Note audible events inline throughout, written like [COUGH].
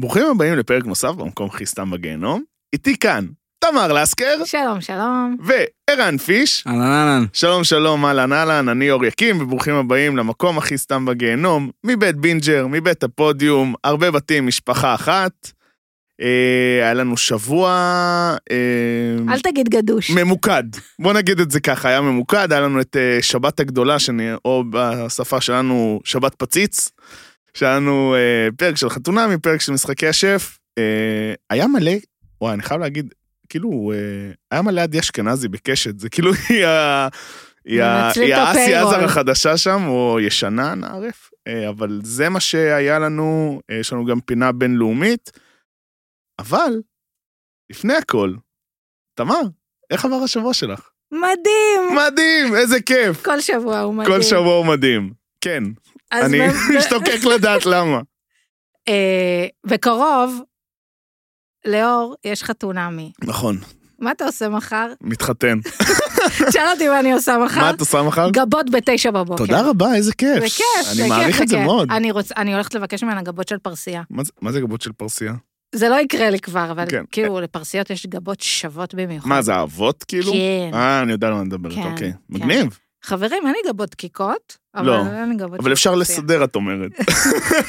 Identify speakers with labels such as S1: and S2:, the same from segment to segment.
S1: ברוכים הבאים לפרק נוסף במקום הכי סתם בגיהנום. איתי כאן, תמר לסקר
S2: שלום, שלום.
S1: וערן פיש.
S3: אהלן אהלן.
S1: שלום שלום, אהלן אהלן, אני אור יקים, וברוכים הבאים למקום הכי סתם בגיהנום, מבית בינג'ר, מבית הפודיום, הרבה בתים, משפחה אחת. אה, היה לנו שבוע... אה,
S2: אל תגיד גדוש.
S1: ממוקד, בוא נגיד את זה ככה, היה ממוקד, היה לנו את אה, שבת הגדולה, שאני, או בשפה שלנו שבת פציץ, שהיה לנו אה, פרק של חתונמי, פרק של משחקי השף, אה, היה מלא, וואי, אני חייב להגיד, כאילו, אה, היה מלא עדי אשכנזי בקשת, זה כאילו היא ה... היא ה-
S2: מנצלים
S1: היא
S2: את
S1: האסי
S2: הפיירול.
S1: עזר החדשה שם, או ישנה, נערף, אה, אבל זה מה שהיה לנו, אה, יש לנו גם פינה בינלאומית, אבל, לפני הכל, תמר, איך עבר השבוע שלך?
S2: מדהים!
S1: מדהים, איזה כיף.
S2: כל שבוע הוא מדהים.
S1: כל שבוע הוא מדהים. כן,
S2: אז
S1: אני [LAUGHS]
S2: ב- ב-
S1: משתוקק לדעת למה.
S2: אה, בקרוב, לאור, יש חתונמי.
S1: נכון,
S2: מה אתה
S1: [LAUGHS]
S2: עושה מחר?
S1: מתחתן.
S2: תשאל אותי מה אני עושה מחר.
S1: מה את עושה מחר?
S2: גבות בתשע בבוקר.
S1: תודה רבה, איזה כיף.
S2: זה כיף, זה כיף.
S1: אני מעריך את זה
S2: כיף.
S1: מאוד.
S2: אני רוצ- אני הולכת לבקש ממנה גבות של פרסייה.
S1: מה זה- מה זה גבות של פרסייה?
S2: זה לא יקרה לי כבר, אבל
S1: כן.
S2: כאילו, לפרסיות יש גבות שוות במיוחד.
S1: מה, זה האבות כאילו?
S2: כן.
S1: אה, אני יודע על מה מדברת,
S2: כן,
S1: אוקיי.
S2: כן.
S1: מגניב.
S2: חברים, אין לי גבות דקיקות, אבל
S1: לא.
S2: אין לי גבות
S1: אבל אפשר
S2: פרסייה.
S1: לסדר, את
S2: [LAUGHS]
S1: אומרת.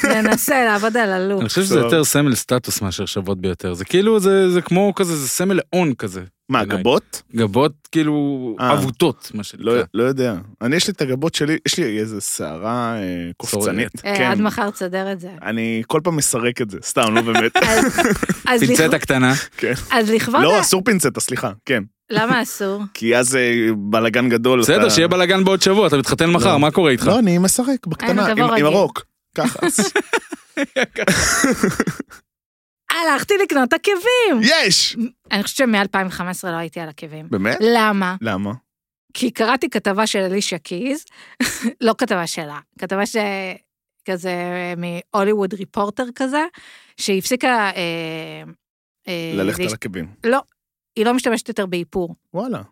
S2: ננסה לעבוד על הלוק.
S3: אני חושב שזה
S1: טוב.
S3: יותר סמל סטטוס מאשר שוות ביותר. זה כאילו, זה זה כמו כזה, זה סמל להון כזה.
S1: מה,
S3: בעיניי.
S1: גבות?
S3: גבות כאילו
S1: אה.
S3: עבותות, מה
S1: לא
S3: שנקרא.
S1: לא יודע. אני, יש לי את הגבות שלי, יש לי איזה שערה אה, קופצנית.
S3: סוררת.
S2: אה,
S1: כן.
S2: עד מחר תסדר את זה.
S1: אני כל פעם מסרק את זה, סתם, נו
S2: [LAUGHS]
S1: באמת. [LAUGHS]
S2: אז- אז לכ-
S3: פינצטה קטנה.
S2: אז לכבוד...
S1: לא,
S2: ה-
S1: אסור פינצטה, סליחה, כן.
S2: למה אסור?
S1: כי אז אה, בלאגן גדול.
S3: בסדר,
S1: אתה-
S3: שיהיה בלאגן בעוד שבוע, אתה מתחתן
S1: לא.
S3: מחר, מה קורה איתך?
S1: לא, אני משחק בקטנה,
S2: אה,
S1: עם
S2: תבוא
S1: עם
S2: רגיל.
S1: הרוק. ככה.
S2: [LAUGHS]
S1: אז-
S2: הלכתי לקנות עקבים!
S1: יש!
S2: אני חושבת שמ-2015 לא הייתי על עקבים.
S1: באמת?
S2: למה?
S1: למה?
S2: אה, כי קראתי כתבה של אלישע קיז, [LAUGHS] לא כתבה שלה, כתבה ש... כזה מהוליווד ריפורטר כזה, שהיא הפסיקה... אה, אה,
S1: ללכת על
S2: להש-
S1: עקבים.
S2: היא לא משתמשת יותר באיפור.
S1: וואלה,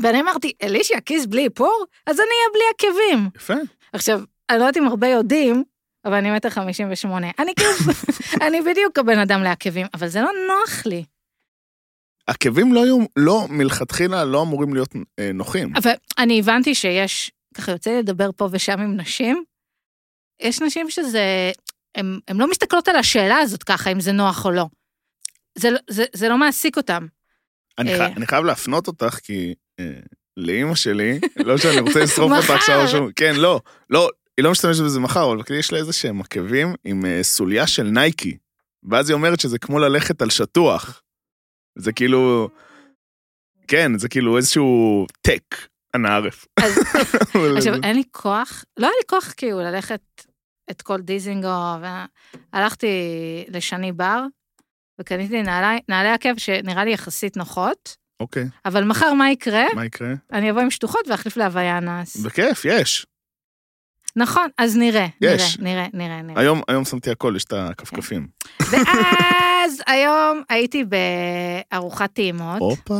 S2: ואני אמרתי, אלישע קיז בלי איפור? אז אני אהיה בלי עקבים.
S1: יפה.
S2: עכשיו, אני לא יודעת אם הרבה יודעים, אבל אני מטר חמישים ושמונה. אני כאילו, אני בדיוק הבן אדם לעקבים, אבל זה לא נוח לי.
S1: עקבים לא היו, לא, מלכתחילה לא אמורים להיות אה, נוחים.
S2: אבל אני הבנתי שיש, ככה יוצא לי לדבר פה ושם עם נשים, יש נשים שזה, הן הן לא מסתכלות על השאלה הזאת ככה, אם זה נוח או לא. זה, לא- זה, זה לא מעסיק אותם.
S1: אני,
S2: אה.
S1: חי, אני חייב להפנות אותך, כי אה, לאימא שלי, לא שאני רוצה לשרוף אותה
S2: מחר.
S1: עכשיו או שום, כן, לא, לא, היא לא משתמשת בזה מחר, אבל כאילו יש לה איזה שהם עקבים עם אה, סוליה של נייקי, ואז היא אומרת שזה כמו ללכת על שטוח. זה כאילו, כן, זה כאילו איזשהו טק, אנא ערף.
S2: אז
S1: [LAUGHS] אבל
S2: עכשיו,
S1: זה-
S2: אין לי כוח, לא היה לי כוח כאילו ללכת את כל דיזינגוף, הלכתי לשני בר, וקניתי נעלי, נעלי עקב שנראה לי יחסית נוחות,
S1: אוקיי,
S2: אבל מחר מה יקרה?
S1: מה יקרה?
S2: אני אבוא עם שטוחות ואחליף להוויה אנס.
S1: בכיף, יש.
S2: נכון, אז נראה, נראה,
S1: יש.
S2: נראה, נראה, נראה.
S1: היום, היום שמתי הכל, יש את הכפכפים.
S2: ואז היום הייתי בארוחת טעימות.
S1: הופה.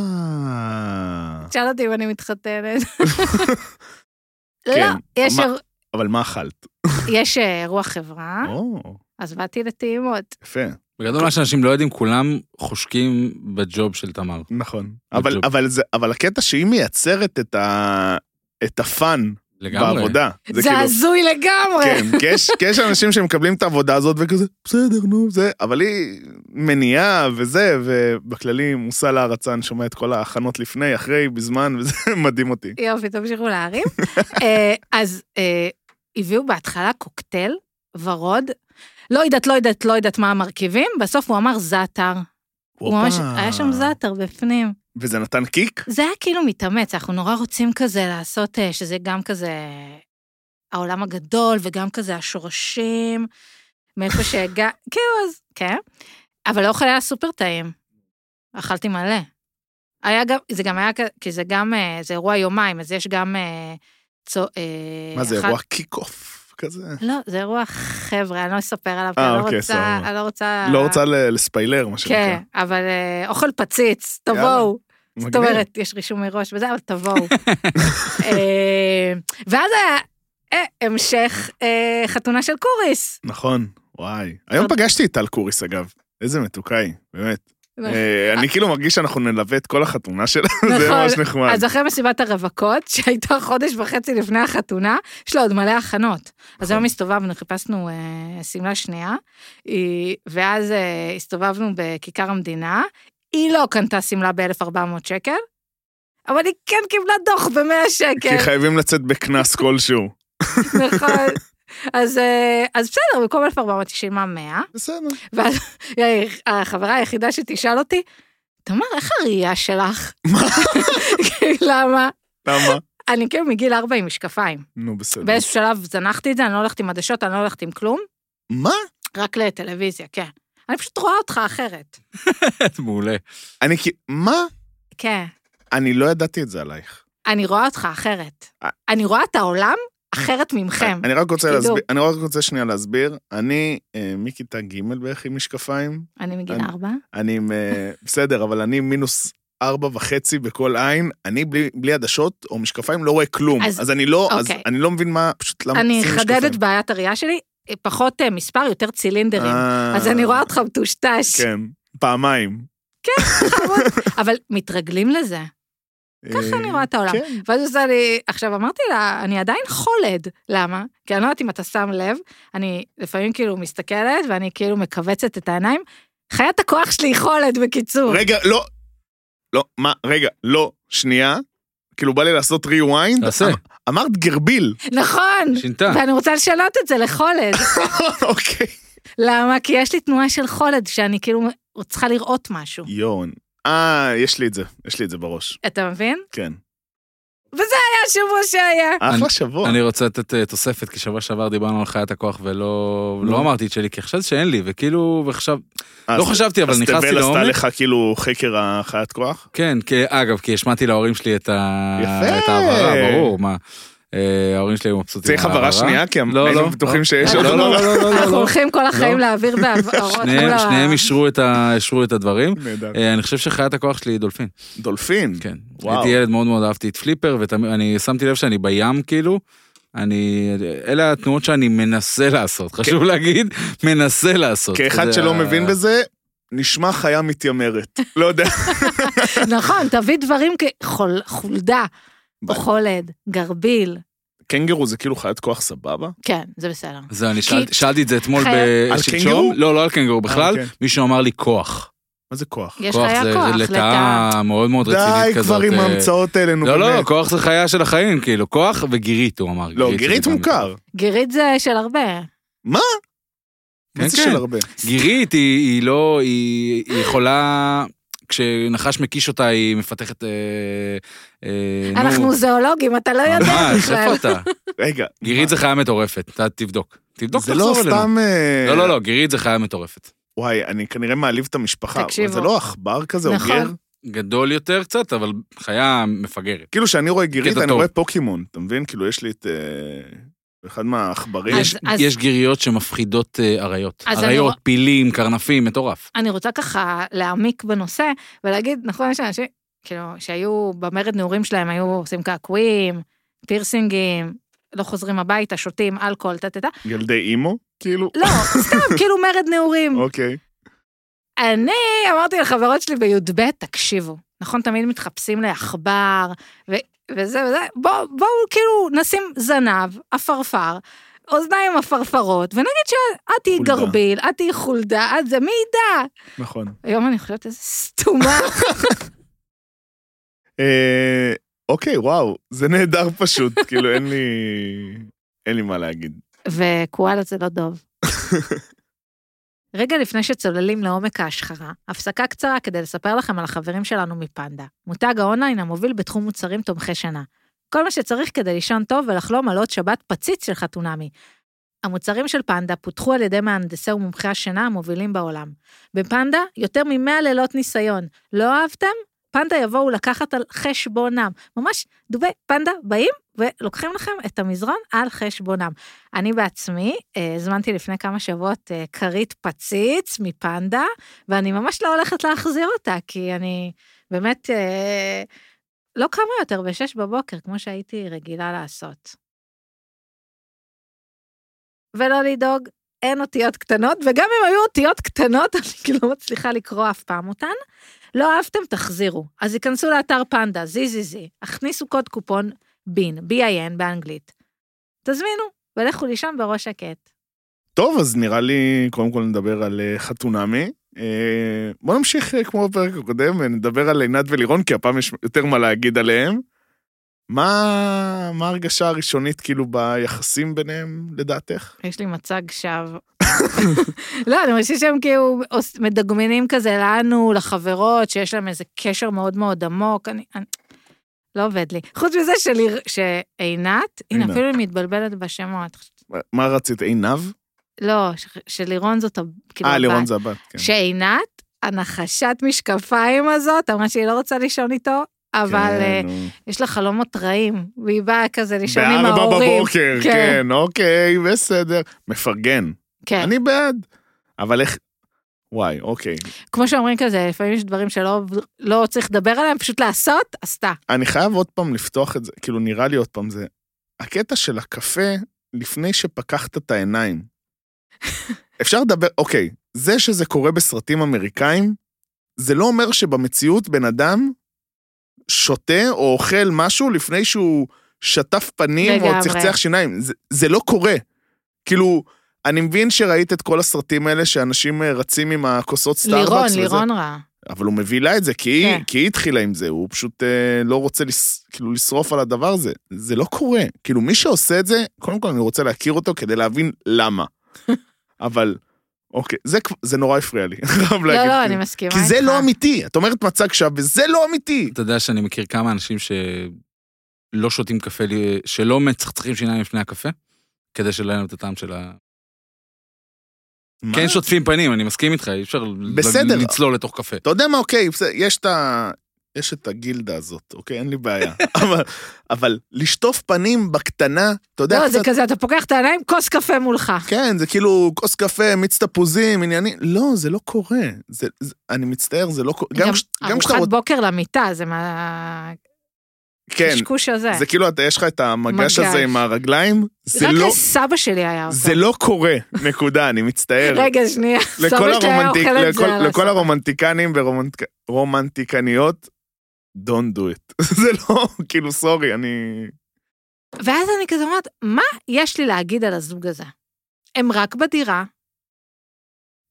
S2: תשאל אותי אם אני מתחתנת.
S1: [LAUGHS] כן,
S2: לא, יש
S1: מה-
S2: איר-
S1: אבל מה אכלת?
S2: יש אה, אירוע חברה,
S1: או,
S2: אז באתי לטעימות.
S1: יפה.
S3: בגדול מה שאנשים לא יודעים, כולם חושקים בג'וב של תמר.
S1: נכון. אבל,
S3: בדיוק.
S1: אבל, זה, אבל הקטע שהיא מייצרת את, ה, את הפאן
S3: לגמרי.
S1: בעבודה.
S2: זה הזוי לגמרי.
S1: כאילו- כן, כי יש, כי יש אנשים שמקבלים את העבודה הזאת וכזה, בסדר, נו, זה, אבל היא מניעה וזה, ובכללי מושא להערצה, אני שומע את כל ההכנות לפני, אחרי, בזמן, וזה [LAUGHS] מדהים אותי.
S2: יופי, תמשיכו
S1: [LAUGHS]
S2: להרים. אה, אז אה, הביאו בהתחלה קוקטייל ורוד. לא יודעת, לא יודעת, לא יודעת מה המרכיבים, בסוף הוא אמר זעתר. הוא ממש,
S1: הופה.
S2: היה שם זעתר בפנים.
S1: וזה נתן קיק?
S2: זה היה כאילו מתאמץ, אנחנו נורא רוצים כזה לעשות, אה, שזה גם כזה העולם הגדול וגם כזה השורשים, מאיפה שהגע... [LAUGHS] כאילו, אז כן. אבל האוכל היה סופר טעים. אכלתי מלא. היה גם, זה גם היה, כ- כי זה גם, אה, זה אירוע יומיים, אז יש גם... אה, צו, אה,
S1: מה זה,
S2: אחת-
S1: אירוע קיק-אוף כזה?
S2: לא, זה אירוע חבר'ה, אני לא אספר עליו, כי
S1: אה,
S2: אני לא
S1: אוקיי,
S2: רוצה,
S1: סבבה.
S2: אני לא רוצה...
S1: לא רוצה ל- לספיילר, מה שנקרא.
S2: כן, אבל אה, אוכל פציץ,
S1: יאללה.
S2: תבואו. זאת
S1: מגניב.
S2: אומרת, יש רישום מראש וזה, אבל
S1: [LAUGHS]
S2: תבואו. אה, ואז היה אה, המשך אה, חתונה של קוריס.
S1: נכון, וואי. היום
S2: תודה.
S1: פגשתי את טל קוריס, אגב. איזה מתוקה היא, באמת. אה, אני כאילו מרגיש שאנחנו נלווה את כל החתונה שלה, [LAUGHS] זה
S2: נכון.
S1: ממש נחמד.
S2: אז אחרי מסיבת הרווקות, [LAUGHS] שהייתה חודש וחצי לפני החתונה, יש לה עוד מלא הכנות. אז
S1: נכון.
S2: היום הסתובבנו, חיפשנו אה, שמלה שנייה, היא- ואז אה, הסתובבנו בכיכר המדינה, היא לא קנתה שמלה ב-1,400 שקל, אבל היא כן קיבלה דוח ב-100
S1: כי
S2: שקל,
S1: חייבים לצאת
S2: [LAUGHS]
S1: בקנס כלשהו.
S2: נכון. אז, אה, אז בסדר, במקום 1,400 היא שילמה 100,
S1: בסדר.
S2: ואז היא החברה היחידה שתשאל אותי, תמר, איך הראייה שלך? [LAUGHS]
S1: מה?
S2: למה?
S1: למה?
S2: אני כאילו מגיל ארבע עם משקפיים.
S1: נו, בסדר.
S2: באיזשהו שלב זנחתי את זה, אני לא הולכת עם עדשות, אני לא הולכת עם כלום,
S1: מה?
S2: רק לטלוויזיה, כן. אני פשוט רואה אותך אחרת.
S3: [LAUGHS] מעולה.
S1: אני כאילו, מה?
S2: כן.
S1: אני לא ידעתי את זה עלייך.
S2: אני רואה אותך אחרת.
S1: אה.
S2: אני רואה את העולם אחרת ממכם.
S1: אני רק רוצה
S2: כן. תדעו.
S1: להסביר, אני רק רוצה שנייה להסביר. אני אה, מכיתה ג' בערך עם משקפיים.
S2: אני מגיל
S1: אני-
S2: ארבע.
S1: אני עם... אה, בסדר, אבל אני מינוס ארבע וחצי בכל עין. אני בלי בלי עדשות או משקפיים לא רואה כלום.
S2: אז-
S1: אז אני לא, אז
S2: אוקיי.
S1: אני לא מבין מה, פשוט למה...
S2: אני
S1: עושים
S2: אחדד את
S1: משקפיים.
S2: בעיית הראייה שלי, אה, פחות אה, מספר, יותר צילינדרים.
S1: אה,
S2: אז אני רואה אותך מטושטש.
S1: כן, פעמיים.
S2: חמוד. [LAUGHS] אבל מתרגלים לזה. ככה אני רואה את העולם.
S1: כן.
S2: ואז עושה לי, עכשיו אמרתי לה, אני עדיין חולד. למה? כי אני לא יודעת אם אתה שם לב, אני לפעמים כאילו מסתכלת ואני כאילו מכווצת את העיניים. חיית הכוח שלי היא חולד, בקיצור.
S1: רגע, לא. לא, מה, רגע, לא, שנייה. כאילו בא לי לעשות rewind.
S3: תעשה.
S1: אמ- אמרת גרביל. [LAUGHS]
S2: נכון! [LAUGHS]
S3: שינתה.
S2: ואני רוצה לשנות את זה לחולד.
S1: אוקיי.
S2: למה? כי יש לי תנועה של חולד, שאני כאילו צריכה לראות משהו.
S1: יון. אה, יש לי את זה, יש לי את זה בראש.
S2: אתה מבין?
S1: כן.
S2: היה שבוע שהיה.
S1: אחלה שבוע.
S3: אני רוצה לתת אה, תוספת, כי שבוע שעבר דיברנו על חיית הכוח ולא
S1: נו.
S3: לא אמרתי את שלי, כי חשבתי שאין לי, וכאילו, ועכשיו,
S1: אה,
S3: לא
S1: אז-
S3: חשבתי, אבל
S1: אז
S3: נכנסתי
S1: תבל עשתה
S3: לעומק.
S1: לך כאילו חקר החיית כוח?
S3: כן, כי- אגב, כי השמעתי להורים שלי את ה-
S1: יפה.
S3: את ההעברה, ברור, מה. אה, ההורים שלי היו מבסוטים.
S1: צריך
S3: מההעברה.
S1: הבהרה שנייה, כי הם
S3: לא,
S1: היינו
S3: לא,
S1: בטוחים
S3: לא.
S1: שיש
S3: לא,
S1: עוד
S3: לא, לא,
S1: הבהרה.
S3: לא, לא, לא,
S2: אנחנו
S3: לא.
S2: הולכים כל החיים
S3: לא.
S2: להעביר בהבהרות. לא.
S3: שניהם-
S2: מול ה-
S3: שניהם אישרו את ה- אישרו את הדברים.
S1: נהדר.
S3: אה, אני חושב שחיית הכוח שלי היא דולפין.
S1: דולפין.
S3: כן.
S1: וואו.
S3: הייתי ילד מאוד מאוד אהבתי את פליפר, ואני שמתי לב שאני בים כאילו. אני, אלה התנועות שאני מנסה לעשות, חשוב להגיד, מנסה לעשות.
S1: כאחד
S3: זה
S1: כן. שלא
S3: ה-
S1: מבין בזה, נשמע חיה מתיימרת. [LAUGHS] לא יודע.
S2: נכון, תביא דברים כחולדה, או חולד, גרביל.
S1: קנגרו זה כאילו חיית כוח סבבה?
S2: כן, זה בסדר.
S3: זה, אני שאלתי- שאלתי את זה אתמול
S2: חיה-
S1: על
S3: בשלשום.
S1: קנגורו?
S3: לא, לא על קנגורו בכלל,
S1: אוקיי.
S3: מישהו אמר לי כוח.
S1: מה זה כוח?
S2: יש
S3: כוח
S2: חיה
S3: זה-
S2: כוח,
S3: זה
S2: לטאה.
S3: לטאה מאוד מאוד
S1: די
S3: רצינית כזאת.
S1: כבר עם
S3: אה,
S1: ההמצאות האלה, נו
S3: לא, לא,
S1: באמת.
S3: כוח זה חיה של החיים, כאילו, כוח וגירית, הוא אמר.
S1: לא,
S3: זה
S1: גירית
S3: גם-
S1: מוכר.
S2: גירית זה של הרבה.
S1: מה
S3: כן,
S1: זה
S3: כן.
S1: של הרבה?
S3: גירית היא, היא לא, היא, היא יכולה, כשנחש מקיש אותה היא מפתחת, אה, אה, נו,
S2: אנחנו זואולוגים, אתה לא יודע
S3: ממש,
S2: בכלל.
S3: איפה אתה?
S1: רגע.
S3: גירית זה חיה מטורפת, אתה תבדוק. תבדוק,
S1: זה לא
S3: תחזור אלינו.
S1: סתם... אה,
S3: לא, לא, לא, גירית זה חיה מטורפת.
S1: וואי, אני כנראה מעליב את המשפחה. תקשיבו.
S2: תקשיבו.
S1: זה לא עכבר כזה, או
S2: נכון.
S1: גר?
S3: גדול יותר קצת, אבל חיה מפגרת.
S1: כאילו, כשאני רואה גירית,
S3: קטע
S1: אני
S3: טוב.
S1: רואה פוקימון, אתה מבין? כאילו, יש לי את... אה, אחד מהעכברים.
S2: אז-
S3: יש, יש גיריות שמפחידות אה, אריות.
S2: אז אני
S3: אריות,
S2: רוא-
S3: פילים, קרנפים, מטורף.
S2: אני רוצה ככה להעמיק בנושא ולהגיד, נכון, יש אנשים, כאילו, שהיו במרד נעורים שלהם, היו עושים קעקועים, פירסינגים, לא חוזרים הביתה, שותים אלכוהול, טה טה טה.
S1: ילדי אימו? כאילו.
S2: לא,
S3: [LAUGHS]
S2: סתם, כאילו מרד נעורים.
S1: אוקיי.
S2: אני אמרתי לחברות שלי בי"ב, תקשיבו, נכון, תמיד מתחפשים לעכבר, ו- וזה וזה, בואו בוא, כאילו נשים זנב, עפרפר, אוזניים עפרפרות, ונגיד שאת תהיי
S1: חולדה.
S2: גרביל, את תהיי חולדה, את זה, מי ידע?
S1: נכון.
S2: היום אני חושבת איזה סתומה.
S1: אה, אוקיי, וואו, זה נהדר
S2: [LAUGHS]
S1: פשוט. כאילו, אין לי... אין לי מה להגיד.
S2: וקואלה זה לא דוב. רגע לפני שצוללים לעומק ההשחרה, הפסקה קצרה כדי לספר לכם על החברים שלנו מפנדה, מותג האונליין המוביל בתחום מוצרים תומכי שנה. כל מה שצריך כדי לישון טוב ולחלום על עוד שבת פציץ של חתונמי. המוצרים של פנדה פותחו על ידי מהנדסי ומומחי השינה המובילים בעולם. בפנדה, יותר מ-100 לילות ניסיון. לא אהבתם? פנדה יבואו לקחת על חשבונם. ממש, דובי פנדה באים ולוקחים לכם את המזרון על חשבונם. אני בעצמי אה, הזמנתי לפני כמה שבועות אה, כרית פציץ מפנדה, ואני ממש לא הולכת להחזיר אותה, כי אני באמת אה, לא קמה יותר ב-6 בבוקר, כמו שהייתי רגילה לעשות. ולא לדאוג, אין אותיות קטנות, וגם אם היו אותיות קטנות, [LAUGHS] אני כאילו לא מצליחה לקרוא אף פעם אותן. לא אהבתם, תחזירו. אז היכנסו לאתר פנדה, ZZZ, הכניסו קוד קופון בין, B-I-N באנגלית. תזמינו, ולכו לשם בראש שקט.
S1: טוב, אז נראה לי, קודם כל נדבר על אה, חתונמי. אה, בוא נמשיך אה, כמו בפרק הקודם, ונדבר על עינת ולירון, כי הפעם יש יותר מה להגיד עליהם. מה, מה ההרגשה הראשונית, כאילו, ביחסים ביניהם, לדעתך?
S2: יש לי מצג שווא. [LAUGHS] לא, אני חושבת שהם כאילו עוש- מדגמנים כזה לנו, לחברות, שיש להם איזה קשר מאוד מאוד עמוק. אני... אני... לא עובד לי. חוץ מזה שליר- שעינת, הנה,
S1: עינת.
S2: אפילו היא מתבלבלת בשמות.
S1: מה- מה רצית, עינב?
S2: לא, ש- שלירון זאת... ה- כאילו
S1: אה, לירון
S2: הבת.
S1: זה הבת, כן.
S2: שעינת, הנחשת משקפיים הזאת, אמרה שהיא לא רוצה לישון איתו, אבל אה,
S1: כן, נו.
S2: יש לה חלומות רעים, והיא באה כזה לישון עם
S1: בארבע
S2: ההורים.
S1: בבוקר,
S2: כן.
S1: כן, אוקיי, בסדר. מפרגן.
S2: כן.
S1: אני בעד. אבל איך... וואי, אוקיי.
S2: כמו שאומרים כזה, לפעמים יש דברים שלא לא צריך לדבר עליהם, פשוט לעשות, עשתה.
S1: אני חייב עוד פעם לפתוח את זה, כאילו נראה לי עוד פעם זה, הקטע של הקפה לפני שפקחת את
S2: [LAUGHS]
S1: העיניים. אפשר לדבר, אוקיי, זה שזה קורה בסרטים אמריקאים, זה לא אומר שבמציאות בן אדם שותה או אוכל משהו לפני שהוא שטף פנים
S2: לגמרי.
S1: או צחצח שיניים, זה, זה לא קורה. כאילו, אני מבין שראית את כל הסרטים האלה שאנשים אה, רצים עם הכוסות סטארבקס.
S2: לירון,
S1: וזה.
S2: לירון רע.
S1: אבל הוא מביא לה את זה, כי היא,
S2: כן.
S1: כי היא התחילה עם זה, הוא פשוט אה, לא רוצה לס... כאילו לשרוף על הדבר הזה. זה לא קורה. כאילו, מי שעושה את זה, קודם כל אני רוצה להכיר אותו כדי להבין
S2: [LAUGHS]
S1: למה. אבל, אוקיי, זה, כב- זה נורא הפריע לי. [LAUGHS] חייב
S2: לא,
S1: להגיד.
S2: לא, אני מסכימה
S1: כי
S2: איתך.
S1: זה לא אמיתי. את אומרת מצג שווא, וזה לא אמיתי.
S3: אתה יודע שאני מכיר כמה אנשים שלא שותים קפה, ל- שלא מצחצחים שיניים לפני הקפה, כדי שלא יהיה להם את הטעם של ה...
S1: מה?
S3: כן שוטפים פנים, אני מסכים איתך, אי אפשר ל-
S1: בסדר.
S3: לצלול לתוך קפה.
S1: אתה יודע מה, אוקיי, בסדר, יש את ה... יש את הגילדה הזאת, אוקיי? אין לי
S2: [LAUGHS]
S1: בעיה. אבל, אבל לשטוף פנים בקטנה, אתה יודע,
S2: לא,
S1: קצת...
S2: זה כזה, אתה פוקח את העיניים, כוס קפה מולך.
S1: כן, זה כאילו כוס קפה, מיץ תפוזים, עניינים. לא, זה לא קורה. זה, זה, אני מצטער, זה לא קורה. גם, כש- גם כשאתה
S2: ארוחת
S1: רוצה...
S2: בוקר למיטה, זה מה...
S1: כן,
S2: קשקוש הזה.
S1: זה כאילו, אתה, יש לך את המגש
S2: מגש.
S1: הזה עם הרגליים, זה
S2: רק
S1: לא,
S2: לסבא שלי היה אותו.
S1: זה לא קורה, נקודה, אני מצטער.
S2: [LAUGHS] רגע, שנייה. סבא
S1: [LAUGHS] לכל,
S2: שלי היה
S1: הרומנטיק,
S2: אוכל את זה
S1: לכל,
S2: על
S1: לכל
S2: הסבא.
S1: הרומנטיקנים ורומנטיקניות, don't do it. [LAUGHS] זה לא, כאילו, סורי, אני...
S2: ואז אני כזה אומרת, מה יש לי להגיד על הזוג הזה? הם רק בדירה,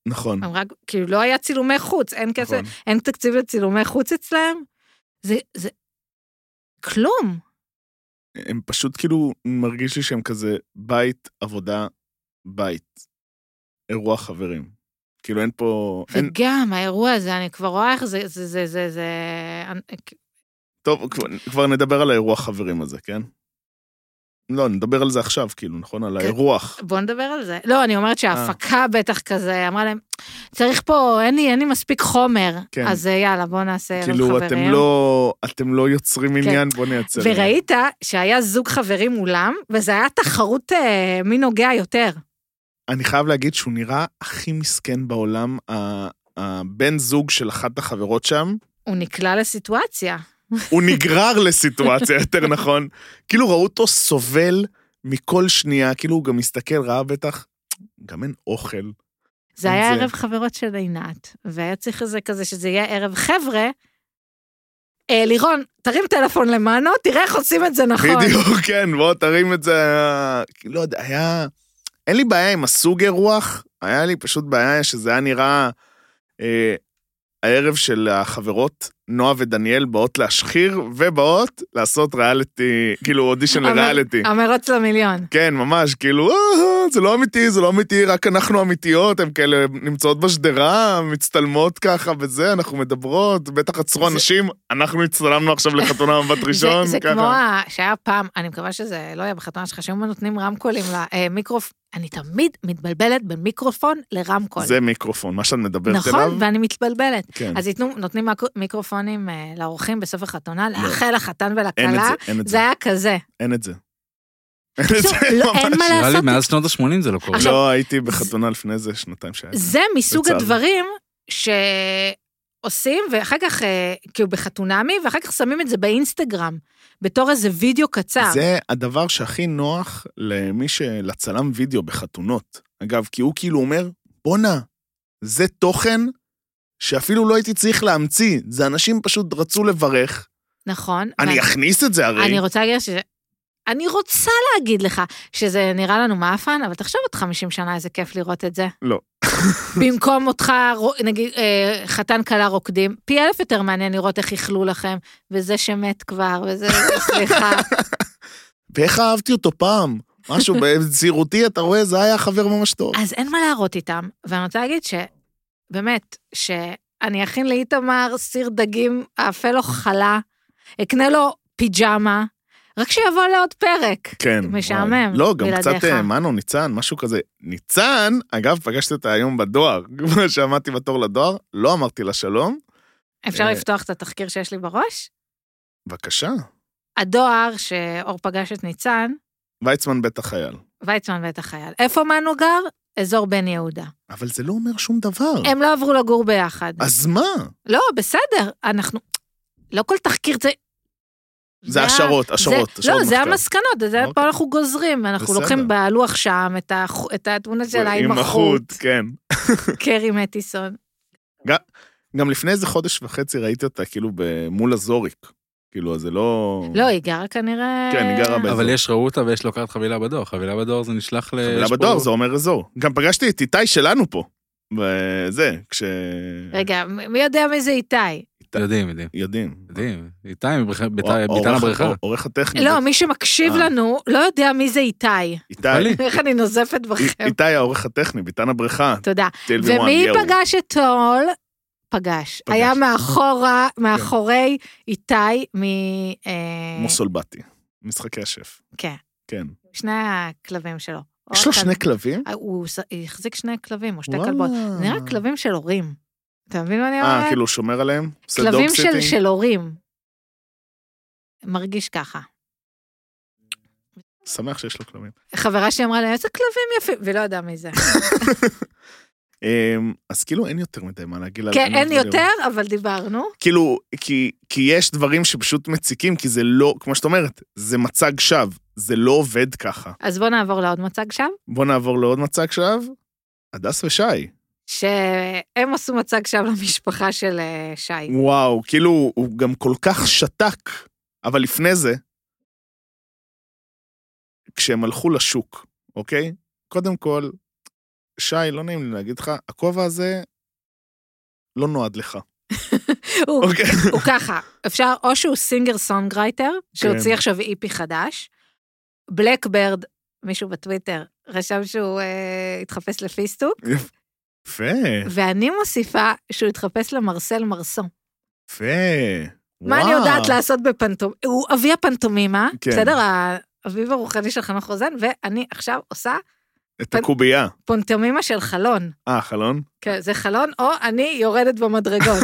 S1: נכון.
S2: הם רק, כאילו לא היה צילומי חוץ, אין כסף,
S1: נכון.
S2: אין תקציב לצילומי חוץ אצלהם. זה, זה, כלום.
S1: הם פשוט כאילו, מרגיש לי שהם כזה בית, עבודה, בית. אירוע חברים. כאילו אין פה... אין...
S2: וגם האירוע הזה, אני כבר רואה איך זה, זה, זה, זה, זה... אני-
S1: טוב, כבר- כבר נדבר על האירוע חברים הזה, כן? לא, נדבר על זה עכשיו, כאילו, נכון? על
S2: כן.
S1: האירוח.
S2: בוא נדבר על זה. לא, אני
S1: אה.
S2: אומרת שההפקה בטח כזה, אמרה להם, צריך פה, אין לי, אין לי מספיק חומר,
S1: כן.
S2: אז אה, יאללה, בוא נעשה ערב חברים.
S1: כאילו, אתם לא, אתם לא יוצרים עניין, בוא נייצר. עניין.
S2: כן. וראית שהיה זוג חברים מולם, וזה היה תחרות אה, מי נוגע יותר.
S1: אני חייב להגיד שהוא נראה הכי מסכן בעולם, ה- הבן זוג של אחת החברות שם,
S2: הוא נקלע לסיטואציה.
S1: הוא נגרר לסיטואציה, יותר נכון. כאילו ראו אותו סובל מכל שנייה, כאילו הוא גם מסתכל, ראה בטח, גם אין אוכל.
S2: זה
S1: אם
S2: היה
S1: זה-
S2: ערב חברות של עינת, והיה צריך איזה כזה שזה יהיה ערב חבר'ה. אה, לירון, תרים טלפון למנו, תראה איך עושים את זה נכון.
S1: בדיוק, כן, בוא תרים את זה, כאילו, לא יודע, היה... אין לי בעיה עם הסוג אירוח, היה לי פשוט בעיה שזה היה נראה... אה, הערב של החברות, נועה ודניאל באות להשחיר ובאות לעשות ריאליטי, כאילו אודישן
S2: המר-
S1: לריאליטי.
S2: המרוץ למיליון.
S1: כן, ממש, כאילו, "אה, זה לא אמיתי, זה לא אמיתי, רק אנחנו אמיתיות, הן כאלה נמצאות בשדרה, מצטלמות ככה וזה, אנחנו מדברות, בטח עצרו
S2: זה-
S1: אנשים, אנחנו הצטלמנו עכשיו לחתונה מבט ראשון,
S2: [LAUGHS] זה, זה כמו
S1: ככה.
S2: ה- שהיה פעם, אני מקווה שזה לא יהיה בחתונה שלך, שהיו נותנים רמקולים למיקרופון. אני תמיד מתבלבלת בין מיקרופון לרמקול.
S1: זה מיקרופון, מה שאת מדברת אליו.
S2: נכון, ואני מתבלבלת.
S1: כן,
S2: אז ייתנו, נותנים מק- מיקרופונים אה, לאורחים בסוף החתונה, לאחל, לחתן
S1: לא. אין את
S2: ולכלה.
S1: זה, אין את
S2: זה
S1: זה,
S2: היה כזה.
S1: אין את זה. [LAUGHS] אין את זה,
S2: לא, אין
S1: ממש.
S2: מה
S3: נראה לי
S2: לעשות.
S3: מאז שנות ה-80 זה לא קורה.
S2: עכשיו-
S1: לא, הייתי בחתונה לפני איזה שנתיים שהיה.
S2: זה מסוג
S1: לצערי.
S2: הדברים שעושים, ואחר כך, אה, כאילו בחתונמי, ואחר כך שמים את זה באינסטגרם, בתור איזה וידאו קצר.
S1: זה הדבר שהכי נוח למי ש... לצלם וידאו בחתונות. אגב, כי הוא כאילו אומר, בואנה, זה תוכן שאפילו לא הייתי צריך להמציא, זה אנשים פשוט רצו לברך,
S2: נכון.
S1: אני
S2: ואני-
S1: אכניס את זה הרי.
S2: אני רוצה להגיד שזה... אני רוצה להגיד לך שזה נראה לנו מאפן, אבל תחשוב עוד 50 שנה איזה כיף לראות את זה.
S1: לא.
S2: במקום אותך, רו- נגיד, אה, חתן כלה רוקדים, פי אלף יותר מעניין לראות איך איחלו לכם, וזה שמת כבר, וזה, סליחה.
S1: ואיך אהבתי אותו פעם? משהו [LAUGHS] בצעירותי, אתה רואה, זה היה חבר ממש טוב.
S2: אז אין מה להראות איתם, ואני רוצה להגיד שבאמת, שאני אכין לאיתמר סיר דגים, אאפה לו חלה, אקנה לו פיג'מה, רק שיבוא לעוד פרק.
S1: כן.
S2: משעמם,
S1: וואי. לא, גם
S2: בלעדיך.
S1: קצת אה, מנו, ניצן, משהו כזה. ניצן, אגב, פגשתי אותה היום בדואר. [LAUGHS] כמו שעמדתי בתור לדואר, לא אמרתי לה שלום.
S2: אפשר
S1: אה.
S2: לפתוח את התחקיר שיש לי בראש?
S1: בבקשה.
S2: הדואר שאור פגש את ניצן,
S1: ויצמן בית החייל.
S2: ויצמן ואת החייל. איפה מנו גר? אזור בן יהודה.
S1: אבל זה לא אומר שום דבר.
S2: הם לא עברו לגור ביחד.
S1: אז מה?
S2: לא, בסדר, אנחנו... לא כל תחקיר זה...
S1: זה השערות, השערות,
S2: זה-
S1: השערות
S2: לא, זה
S1: מחקר.
S2: המסקנות, זה
S1: אוקיי.
S2: פה אנחנו גוזרים, אנחנו
S1: בסדר.
S2: לוקחים בלוח שם את הח- את התמונה שלה עם החוט,
S1: כן.
S2: קרי מטיסון.
S1: גם לפני איזה חודש וחצי ראיתי אותה כאילו ב- מול הזוריק. כאילו, אז זה לא...
S2: לא, היא גרה כנראה...
S1: כן, היא גרה ב-
S3: אבל יש ראו אותה ויש לוקחת חבילה בדואר, חבילה בדואר זה נשלח ל...
S1: חבילה
S3: יש פה-
S1: בדואר זה אומר אזור. גם פגשתי את איתי שלנו פה. וזה, כש...
S2: רגע, מ- מי יודע מי זה איתי?
S3: יודעים, יודעים.
S1: יודעים.
S3: יודעים, איתי מבריכה- בית-
S1: או-
S3: ביתן
S1: עורך-
S3: הבריכה.
S1: או- עורך הטכני.
S2: לא, מי שמקשיב
S1: אה.
S2: לנו לא יודע מי זה איתי. [LAUGHS]
S1: איתי.
S3: אלי.
S2: איך אני נוזפת
S1: אי- [LAUGHS]
S2: בכם.
S1: איתי העורך הטכני, ביתן הבריכה.
S2: תודה.
S1: TLV1,
S2: אוקיי. ומי
S1: יאו.
S2: פגש את טול?
S1: פגש.
S2: פגש.
S1: כן.
S2: היה מאחורה, מאחורי איתי מ... אה,
S1: מוסולבטי. משחקי השף.
S2: כן,
S1: כן.
S2: שני הכלבים שלו.
S1: יש לו
S2: או
S1: שני
S2: הכלב-
S1: כלבים?
S2: אה, הוא ס- החזיק שני כלבים או שתי
S1: וואלה.
S2: כלבות. זה נראה כלבים של הורים. אתה מבין מה אני אומרת?
S1: אה, כאילו הוא שומר עליהם? עושה
S2: כלבים
S1: dog
S2: של-
S1: sitting?
S2: של הורים. מרגיש ככה.
S1: שמח שיש לו כלבים.
S2: חברה שלי אמרה לי, איזה כלבים יפים, ולא יודע
S1: [LAUGHS]
S2: מי זה.
S1: אמ, אז כאילו אין יותר מדי מה להגיד. על-
S2: כן,
S1: על
S2: אין
S1: הדברים.
S2: יותר, אבל דיברנו.
S1: כאילו, כי, כי יש דברים שפשוט מציקים, כי זה לא, כמו שאת אומרת, זה מצג שווא, זה לא עובד ככה.
S2: אז בוא נעבור לעוד מצג שווא,
S1: בוא נעבור לעוד מצג שווא, הדס ושי.
S2: שהם עשו מצג שווא למשפחה של אה,
S1: אוקיי.
S2: שי.
S1: וואו, כאילו, הוא גם כל כך שתק, אבל לפני זה, כשהם הלכו לשוק, אוקיי? קודם כל, שי, לא נעים לי להגיד לך, הכובע הזה לא נועד לך.
S2: הוא-
S1: אוקיי.
S2: הוא ככה, אפשר, או שהוא סינגר סונגרייטר,
S1: כן.
S2: שהוציא עכשיו איפי חדש, בלקברד, מישהו בטוויטר, רשם שהוא אה, התחפש לפיסטוק,
S1: יפה,
S2: ואני מוסיפה שהוא התחפש למרסל מרסו.
S1: יפה.
S2: מה אני
S1: וואו.
S2: יודעת לעשות בפנטומימה? הוא אבי הפנטומימה,
S1: כן.
S2: בסדר? האביב הרוחני של חנוך רוזן, ואני עכשיו עושה
S1: את הקובייה.
S2: פנטומימה של חלון.
S1: אה, חלון?
S2: כן, זה חלון, או אני יורדת
S1: [LAUGHS]
S2: במדרגות.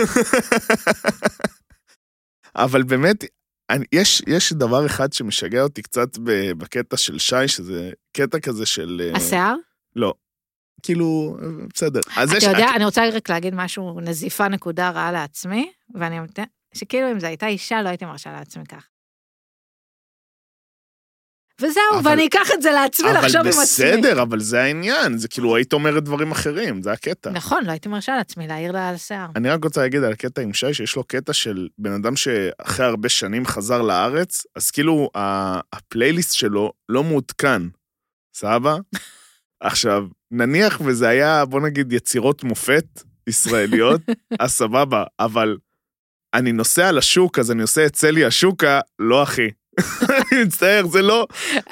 S1: אבל באמת, אני, יש, יש דבר אחד שמשגע אותי קצת ב- בקטע של שי, שזה קטע כזה של... אה,
S2: השיער?
S1: כאילו, אה, בסדר. אז
S2: אתה יודע, אני רוצה רק להגיד משהו, נזיפה נקודה רעה לעצמי, ואני... מת- שכאילו אם זו הייתה אישה, לא הייתי מרשה לעצמי כך. וזהו,
S1: אבל-
S2: ואני אקח את זה לעצמי, לחשוב
S1: אבל
S2: עם עצמי.
S1: בסדר, אבל זה העניין, זה כאילו היית אומרת דברים אחרים, זה הקטע.
S2: נכון, לא הייתי מרשה לעצמי להעיר לה על שיער.
S1: אני רק רוצה להגיד על הקטע עם שי, שיש לו קטע של בן אדם שאחרי הרבה שנים חזר לארץ, אז כאילו ה- הפלייליסט שלו לא מעודכן,
S2: [LAUGHS]
S1: סבבה? עכשיו, נניח וזה היה, בוא נגיד, יצירות מופת
S2: [LAUGHS]
S1: ישראליות, אז סבבה, אבל אני נוסע לשוק, אז אני עושה את צלי השוקה, לא אחי. [LAUGHS] אני מצטער, זה לא,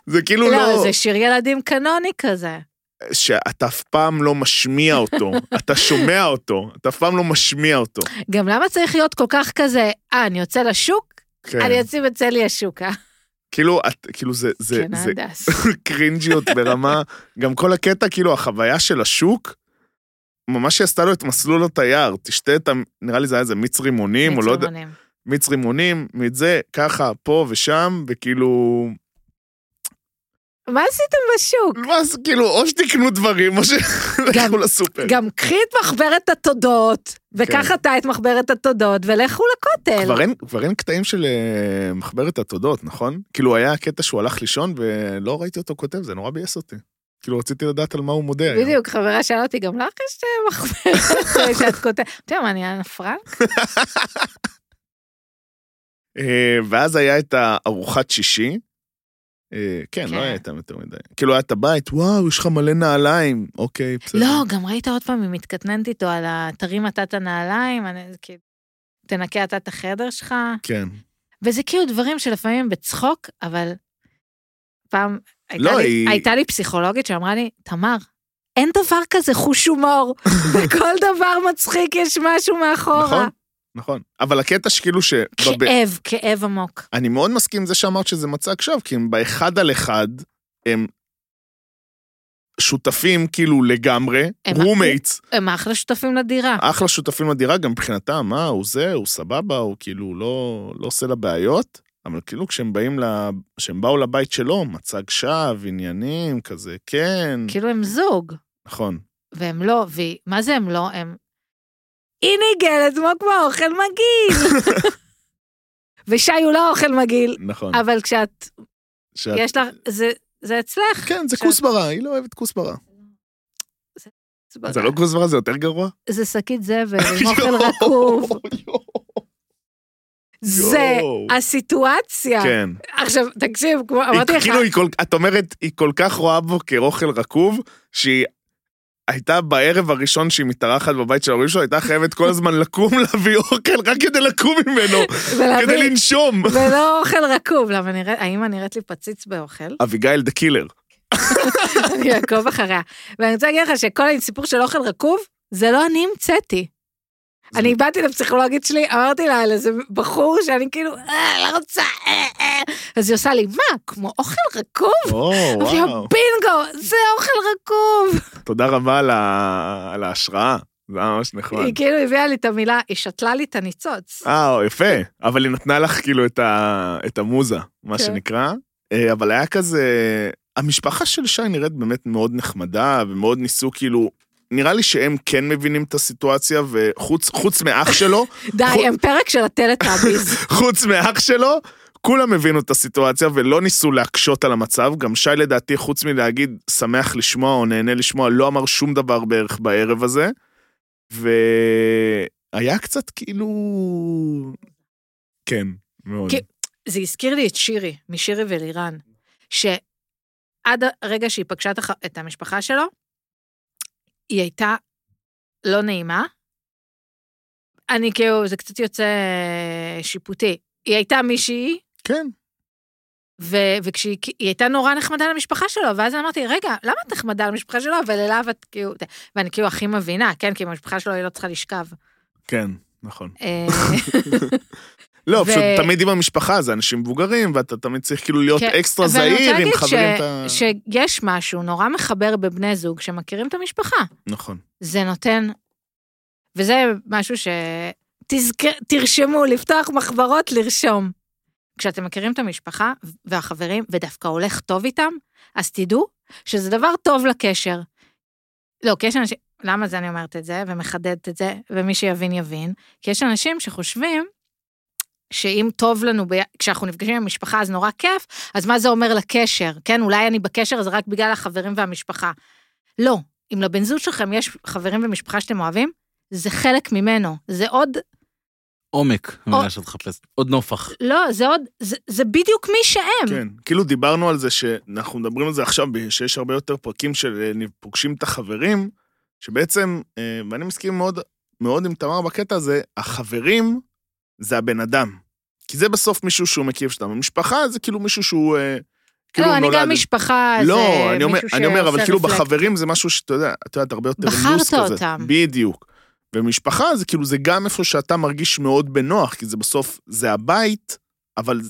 S1: זה כאילו לא...
S2: לא, זה שיר ילדים קנוני כזה.
S1: שאתה אף פעם לא משמיע אותו, אתה שומע אותו, אתה אף פעם לא משמיע אותו.
S2: גם למה צריך להיות כל כך כזה, אה, אני יוצא לשוק?
S1: כן.
S2: אני אשים את צלי השוקה.
S1: כאילו, את, כאילו זה, זה,
S2: אה, כן,
S1: זה
S2: הדס.
S1: קרינג'יות
S2: [LAUGHS]
S1: ברמה, גם כל הקטע, כאילו, החוויה של השוק, ממש היא עשתה לו את מסלול התייר, תשתה את ה... נראה לי זה היה איזה מיץ רימונים, או לא יודע,
S2: מצלמונים.
S1: מיץ רימונים, מזה, ככה, פה ושם, וכאילו...
S2: מה עשיתם בשוק?
S1: מה זה, כאילו, או שתקנו דברים, או שלכו לסופר.
S2: אוקיי. [LAUGHS] גם קחי את מחברת התודות, וקח
S1: כן.
S2: אתה את מחברת התודות, ולכו לכותל.
S1: כבר אין, כבר אין קטעים של אה, מחברת התודות, נכון? כאילו, היה קטע שהוא הלך לישון, ולא ראיתי אותו כותב, זה נורא ביאס אותי. כאילו, רציתי לדעת על מה הוא מודה היום.
S2: בדיוק, חברה שאלה אותי, גם לך יש אה, מחברת [LAUGHS] שאת כותבת? אתה יודע מה, אני אנה פרנק?
S1: אה, ואז היה את הארוחת שישי. אה, כן,
S2: כן.
S1: לא היה איתם יותר מדי. כאילו, היה את הבית, וואו, יש לך מלא נעליים. אוקיי, בסדר.
S2: לא, גם ראית עוד פעם, היא מתקטננת איתו על ה... תרים אתה את הנעליים, אני- זה כאילו, תנקה אתה את החדר שלך.
S1: כן.
S2: וזה כאילו דברים שלפעמים בצחוק, אבל פעם הייתה,
S1: לא,
S2: לי,
S1: היא-
S2: הייתה לי פסיכולוגית שאמרה לי, תמר, אין דבר כזה חוש
S1: [LAUGHS]
S2: הומור, בכל דבר מצחיק יש משהו מאחורה.
S1: נכון, נכון. אבל הקטע שכאילו ש...
S2: כן.
S1: בב-
S2: כאב, כאב עמוק.
S1: אני מאוד מסכים עם זה שאמרת שזה מצג שווא, כי הם באחד על אחד, הם שותפים כאילו לגמרי,
S2: הם-
S1: roommates,
S2: הם אחלה שותפים לדירה.
S1: אחלה שותפים לדירה, גם מבחינתם, אה, הוא זה, הוא סבבה, הוא כאילו לא, לא עושה לה בעיות, אבל כאילו כשהם באים ל... כשהם באו לבית שלו, מצג שווא, עניינים, כזה, כן,
S2: כאילו הם זוג,
S1: נכון.
S2: והם לא, ומה זה הם לא? הם... היא ניגלת כמו כמו אוכל
S1: [LAUGHS]
S2: מגעיל. ושי הוא לא אוכל מגעיל,
S1: נכון.
S2: אבל כשאת,
S1: שאת...
S2: יש לך, זה, זה אצלך.
S1: כן, זה
S2: שאת-
S1: כוסברה, היא לא אוהבת כוסברה. זה לא כוסברה, זה יותר גרוע?
S2: זה שקית
S1: [LAUGHS]
S2: זבל עם אוכל רקוב. זה
S1: יואו.
S2: הסיטואציה.
S1: כן.
S2: עכשיו, תקשיב, כמו- אמרתי
S1: היא,
S2: לך,
S1: כאילו, היא כל, את אומרת, היא כל כך רואה בו כאוכל רקוב, שהיא הייתה בערב הראשון שהיא מתארחת בבית של ההורים שלו, הייתה חייבת כל הזמן לקום להביא אוכל רק כדי לקום ממנו, כדי
S2: ולהבין,
S1: לנשום.
S2: ולא אוכל רקוב, למה נראית, האמא נראית לי פציץ באוכל?
S1: [LAUGHS] אביגיל דה קילר.
S2: אני אעקוב אחריה. ואני רוצה להגיד לך שכל הסיפור של אוכל רקוב, זה לא אני המצאתי. אני באתי לפסיכולוגית שלי, אמרתי לה על איזה בחור שאני כאילו, אה, לא רוצה, אה, אה. אז היא עושה לי, מה, כמו אוכל רקוב?
S1: או,
S2: אמרתי לה,
S1: וואו.
S2: בינגו, זה אוכל רקוב.
S1: תודה רבה על ה- על ההשראה, זה היה ממש נחמד.
S2: היא כאילו הביאה לי את המילה, היא שתלה לי את הניצוץ.
S1: נכון. אה, יפה. אבל היא נתנה לך כאילו את, ה, את המוזה, מה
S2: כן.
S1: שנקרא. אה, אבל היה כזה... המשפחה של שי נראית באמת מאוד נחמדה, ומאוד ניסו כאילו... נראה לי שהם כן מבינים את הסיטואציה, וחוץ חוץ מאח שלו,
S2: די,
S1: חו-
S2: הם פרק של הטלטאביז.
S1: חוץ מאח שלו, כולם הבינו את הסיטואציה ולא ניסו להקשות על המצב. גם שי לדעתי, חוץ מלהגיד שמח לשמוע או נהנה לשמוע, לא אמר שום דבר בערך בערב הזה. והיה קצת כאילו... כן, מאוד.
S2: כי- [LAUGHS] זה הזכיר לי את שירי, משירי ולירן, שעד הרגע שהיא פגשה את הח- את המשפחה שלו, היא הייתה לא נעימה. אני כאילו, זה קצת יוצא אה, שיפוטי. היא הייתה מישהי,
S1: כן.
S2: ו- וכשהיא כי- היא הייתה נורא נחמדה למשפחה שלו, ואז אמרתי, רגע, למה את נחמדה למשפחה שלו, אבל אליו את כאילו... ואני כאילו הכי מבינה, כן, כי עם המשפחה שלו היא לא צריכה לשכב.
S1: כן, נכון.
S2: אה,
S1: לא,
S2: ו-
S1: פשוט תמיד עם המשפחה זה אנשים מבוגרים, ואתה תמיד צריך כאילו להיות
S2: כן,
S1: אקסטרה
S2: אבל אני רוצה
S1: זהיר עם
S2: להגיד
S1: חברים את
S2: ש-
S1: ה...
S2: שיש משהו נורא מחבר בבני זוג שמכירים את המשפחה.
S1: נכון.
S2: זה נותן, וזה משהו ש... תזכר, תרשמו, לפתוח מחברות, לרשום. כשאתם מכירים את המשפחה והחברים, ודווקא הולך טוב איתם, אז תדעו שזה דבר טוב לקשר. לא, כי יש אנשים, למה זה אני אומרת את זה, ומחדדת את זה, ומי שיבין יבין? כי יש אנשים שחושבים שאם טוב לנו, ב... כשאנחנו נפגשים עם המשפחה אז נורא כיף, אז מה זה אומר לקשר? כן, אולי אני בקשר אז רק בגלל החברים והמשפחה. לא, אם לבן זוג שלכם יש חברים ומשפחה שאתם אוהבים, זה חלק ממנו, זה עוד,
S3: עומק, המילה שאת מחפשת. עוד נופח.
S2: לא, זה עוד, זה, זה בדיוק מי שהם.
S1: כן, כאילו דיברנו על זה שאנחנו מדברים על זה עכשיו, ב- שיש הרבה יותר פרקים של אה, פוגשים את החברים, שבעצם, אה, ואני מסכים מאוד מאוד עם תמר בקטע הזה, החברים זה הבן אדם. כי זה בסוף מישהו שהוא מקיף שאתה. המשפחה זה כאילו מישהו שהוא... אה, כאילו
S2: לא,
S1: הוא
S2: אני
S1: נולד-
S2: גם משפחה,
S1: לא,
S2: זה
S1: אני אומר,
S2: אה, מישהו
S1: אני אומר, אבל
S2: שעושה
S1: כאילו
S2: רפלקט.
S1: בחברים זה משהו שאתה יודע, את יודעת, הרבה יותר
S2: בחרת
S1: לוס כזה.
S2: אותם.
S1: בדיוק. ומשפחה זה כאילו, זה גם איפה שאתה מרגיש מאוד בנוח, כי זה בסוף, זה הבית, אבל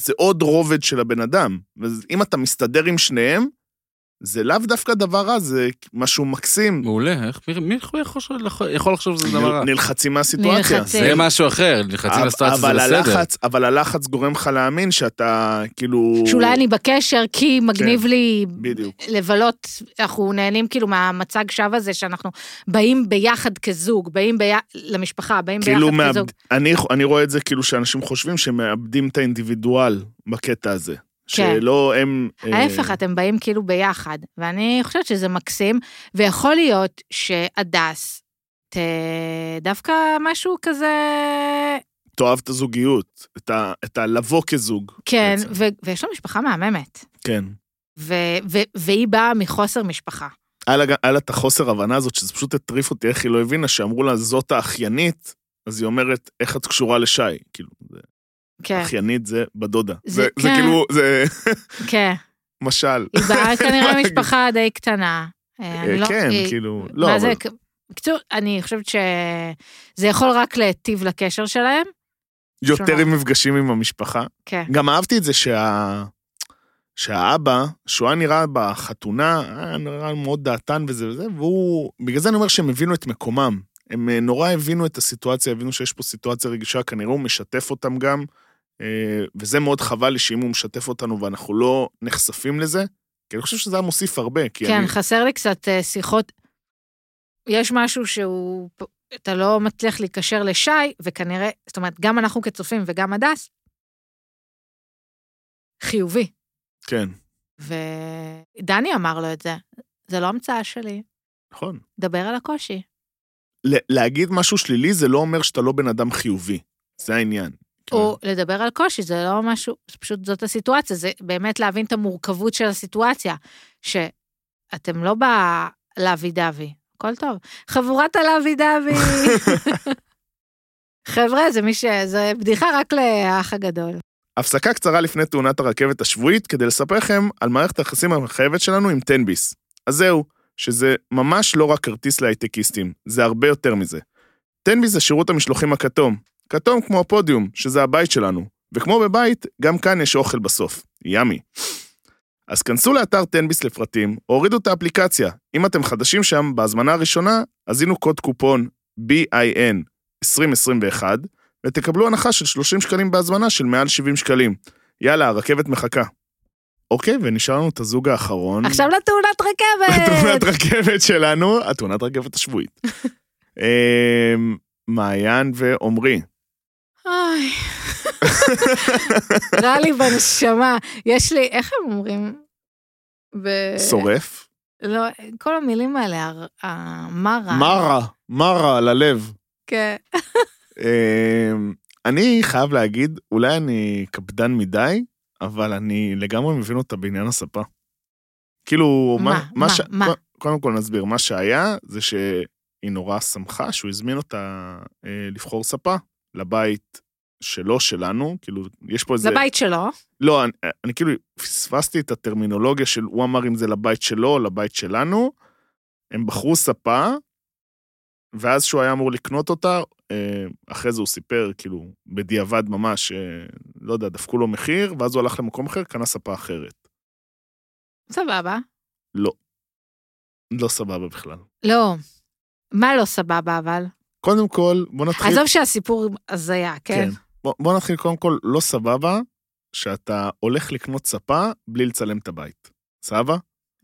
S1: זה עוד רובד של הבן אדם. ואם אתה מסתדר עם שניהם, זה לאו דווקא דבר רע, זה משהו מקסים.
S3: מעולה, איך, מי, מי יכול, יכול- יכול לחשוב שזה דבר רע?
S1: נלחצים מהסיטואציה.
S2: נלחצים.
S3: זה משהו אחר, חצי לסטואציה זה
S1: אבל
S3: בסדר.
S1: הלחץ, אבל הלחץ גורם לך להאמין שאתה, כאילו...
S2: שאולי אני בקשר כי מגניב
S1: כן.
S2: לי
S1: בדיוק.
S2: לבלות, אנחנו נהנים כאילו מהמצג שווא הזה שאנחנו באים ביחד כזוג, באים ביחד למשפחה, באים
S1: כאילו,
S2: ביחד
S1: מאבד...
S2: כזוג.
S1: אני, אני רואה את זה כאילו שאנשים חושבים שהם מאבדים את האינדיבידואל בקטע הזה. שלא הם... אה,
S2: כן. ההפך, אתם באים כאילו ביחד, ואני חושבת שזה מקסים, ויכול להיות שהדס, ת... דווקא משהו כזה,
S1: תאהב את הזוגיות, את ה- את הלבוא כזוג.
S2: כן,
S1: בעצם.
S2: ו... ויש לה משפחה מהממת,
S1: כן.
S2: ו... ו... והיא באה מחוסר משפחה.
S1: היה לה- היה לה את החוסר הבנה הזאת, שזה פשוט הטריף אותי, איך היא לא הבינה, שאמרו לה, זאת האחיינית, אז היא אומרת, איך את קשורה לשי? כאילו, זה-
S2: כן,
S1: אחיינית זה בדודה.
S2: זה-
S1: זה זה
S2: כן.
S1: כאילו, זה [LAUGHS]
S2: כן.
S1: משל.
S2: היא
S1: [LAUGHS]
S2: באה כנראה משפחה די קטנה. אה, אני לא-
S1: כן,
S2: היא-
S1: כאילו, לא,
S2: מה
S1: אבל...
S2: זה, בקיצור, אני חושבת שזה יכול רק להיטיב לקשר שלהם.
S1: יותר
S2: שונה.
S1: עם מפגשים עם המשפחה.
S2: כן,
S1: גם אהבתי את זה שה... שהאבא, שהוא היה נראה בחתונה, היה נראה מאוד דעתן וזה וזה, והוא... בגלל זה אני אומר שהם הבינו את מקומם. הם אה, נורא הבינו את הסיטואציה, הבינו שיש פה סיטואציה רגישה, כנראה הוא משתף אותם גם, אה, וזה מאוד חבל לי שאם הוא משתף אותנו ואנחנו לא נחשפים לזה, כי אני חושב שזה היה מוסיף הרבה, כי
S2: כן,
S1: אני...
S2: חסר לי קצת אה, שיחות. יש משהו שהוא, אתה לא מצליח להיקשר לשי, וכנראה, זאת אומרת, גם אנחנו כצופים וגם הדס, חיובי.
S1: כן,
S2: ודני אמר לו את זה, זה לא המצאה שלי,
S1: נכון.
S2: דבר על הקושי.
S1: ל- להגיד משהו שלילי זה לא אומר שאתה לא בן אדם חיובי, זה העניין.
S2: או לדבר על קושי, זה לא משהו, זה פשוט זאת הסיטואציה, זה באמת להבין את המורכבות של הסיטואציה, שאתם לא בלאבי דאבי, הכל טוב. חבורת הלאבי דאבי. חבר'ה, זה מי ש... זה בדיחה רק לאח הגדול.
S1: הפסקה קצרה לפני תאונת הרכבת השבועית כדי לספר לכם על מערכת היחסים המחייבת שלנו עם תנביס. אז זהו, שזה ממש לא רק כרטיס להייטקיסטים, זה הרבה יותר מזה. תנביס זה שירות המשלוחים הכתום. כתום כמו הפודיום, שזה הבית שלנו. וכמו בבית, גם כאן יש אוכל בסוף. ימי. אז כנסו לאתר תנביס לפרטים, או הורידו את האפליקציה. אם אתם חדשים שם, בהזמנה הראשונה, הזינו קוד קופון BIN 2021, ותקבלו הנחה של 30 שקלים בהזמנה של מעל 70 שקלים. יאללה, הרכבת מחכה. אוקיי, ונשאר לנו את הזוג האחרון.
S2: עכשיו לתאונת
S1: התאונת
S2: רכבת!
S1: רכבת שלנו, התאונת רכבת
S2: [LAUGHS]
S1: השבועית. אמ, מעיין ועומרי.
S2: אוי. [LAUGHS] רע לי בנשמה. יש לי, איך הם אומרים? ב-
S1: שורף.
S2: לא, כל המילים האלה, הר- המרה.
S1: מרה, מרה ללב.
S2: כן.
S1: אמ, אני חייב להגיד, אולי אני קפדן מדי, אבל אני לגמרי מבין אותה בעניין הספה. כאילו, מה,
S2: מה, מה,
S1: ש...
S2: מה?
S1: קודם כל נסביר, מה שהיה זה שהיא נורא שמחה שהוא הזמין אותה אה, לבחור ספה לבית שלו, שלנו, כאילו, יש פה איזה...
S2: לבית שלו.
S1: לא, אני, אני כאילו פספסתי את הטרמינולוגיה של הוא אמר אם זה לבית שלו או לבית שלנו. הם בחרו ספה, ואז שהוא היה אמור לקנות אותה, אה, אחרי זה הוא סיפר, כאילו, בדיעבד ממש, אה, לא יודע, דפקו לו מחיר, ואז הוא הלך למקום אחר, קנה ספה אחרת.
S2: סבבה.
S1: לא. לא סבבה בכלל.
S2: לא. מה לא סבבה אבל?
S1: קודם כל, בוא נתחיל...
S2: עזוב שהסיפור הזיה, כן?
S1: בוא, בוא נתחיל קודם כל, לא סבבה שאתה הולך לקנות ספה בלי לצלם את הבית. סבבה?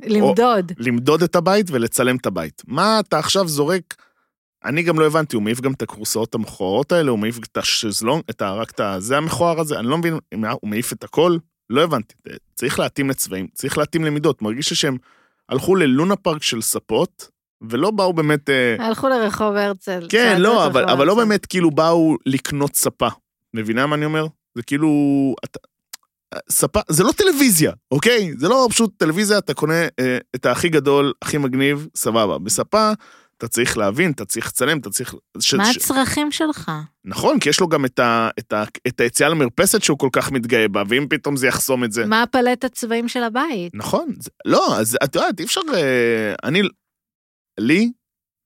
S2: למדוד.
S1: למדוד את הבית ולצלם את הבית. מה אתה עכשיו זורק? אני גם לא הבנתי, הוא מעיף גם את הכורסאות המכוערות האלה, הוא מעיף את השזלון, את ה... רק את ה... זה המכוער הזה, אני לא מבין, מה, הוא מעיף את הכל? לא הבנתי. צריך להתאים לצבעים, צריך להתאים למידות. מרגיש לי שהם הלכו ללונה פארק של ספות, ולא באו באמת... אה,
S2: הלכו לרחוב הרצל.
S1: כן,
S2: צעדו
S1: לא,
S2: לרחוב
S1: אבל, אבל לא
S2: הרצל.
S1: באמת כאילו באו לקנות ספה. מבינה מה אני אומר? זה כאילו... אתה, ספה, זה לא טלוויזיה, אוקיי? זה לא פשוט טלוויזיה, אתה קונה אה, את הכי גדול, הכי מגניב, סבבה. בספה, אתה צריך להבין, אתה צריך לצלם, אתה צריך... ש,
S2: מה
S1: ש,
S2: הצרכים שלך?
S1: נכון, כי יש לו גם את, ה, את, ה, את היציאה למרפסת שהוא כל כך מתגאה בה, ואם פתאום זה יחסום את זה...
S2: מה הפלט הצבעים של הבית?
S1: נכון, זה, לא, אז את יודעת, אי אפשר... אה, אני... לי,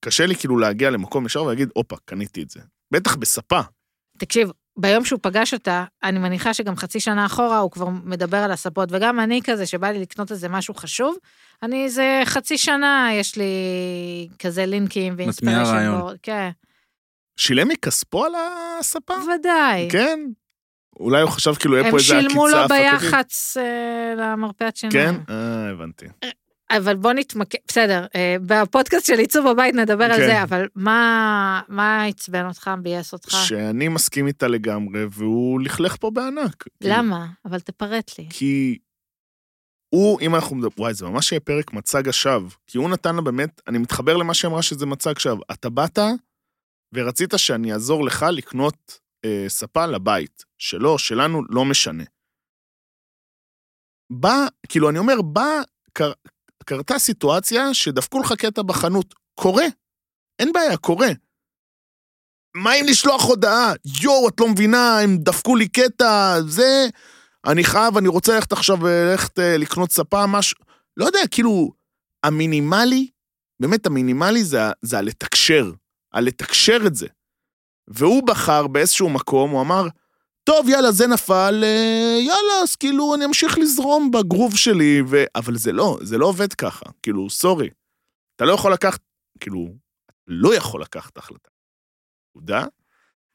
S1: קשה לי כאילו להגיע למקום ישר ולהגיד, הופה, קניתי את זה. בטח בספה.
S2: תקשיב, ביום שהוא פגש אותה, אני מניחה שגם חצי שנה אחורה הוא כבר מדבר על הספות, וגם אני כזה, שבא לי לקנות איזה משהו חשוב, אני איזה חצי שנה, יש לי כזה לינקים ואינספיריישן
S3: רעיון.
S2: בורד. כן,
S1: שילם מכספו על הספה?
S2: בוודאי.
S1: כן. אולי הוא חשב כאילו יהיה פה
S2: הם
S1: איזה עקיצה.
S2: שילמו לו
S1: הפקתית.
S2: ביח"צ אה, למרפאת
S1: כן?
S2: שיניים.
S1: אה, הבנתי.
S2: אבל בוא נתמקד, בסדר, אה, בפודקאסט של עיצוב הבית נדבר על
S1: כן.
S2: זה, אבל מה מה עצבן אותך, ביאס אותך?
S1: שאני מסכים איתה לגמרי, והוא לכלך פה בענק. כאילו,
S2: למה? אבל תפרט לי.
S1: כי הוא, אם אנחנו מדברים, וואי, זה ממש יהיה פרק מצג השווא. כי הוא נתן לה באמת, אני מתחבר למה שאמרה שזה מצג שווא. אתה באת ורצית שאני אעזור לך לקנות אה, ספה לבית. שלו, שלנו, לא משנה. בא, כאילו, אני אומר, בא, קר, קרתה סיטואציה שדפקו לך קטע בחנות. קורה. אין בעיה, קורה. מה אם לשלוח הודעה? יואו, את לא מבינה, הם דפקו לי קטע, זה... אני חייב, אני רוצה ללכת עכשיו, אה, ללכת אה, לקנות ספה, משהו... לא יודע, כאילו, המינימלי, באמת המינימלי זה, ה- זה הלתקשר, הלתקשר את זה. והוא בחר באיזשהו מקום, הוא אמר, טוב, יאללה, זה נפל, אה, יאללה, אז כאילו, אני אמשיך לזרום בגרוב שלי, ו... אבל זה לא, זה לא עובד ככה, כאילו, סורי. אתה לא יכול לקחת, כאילו, לא יכול לקחת החלטה. נקודה,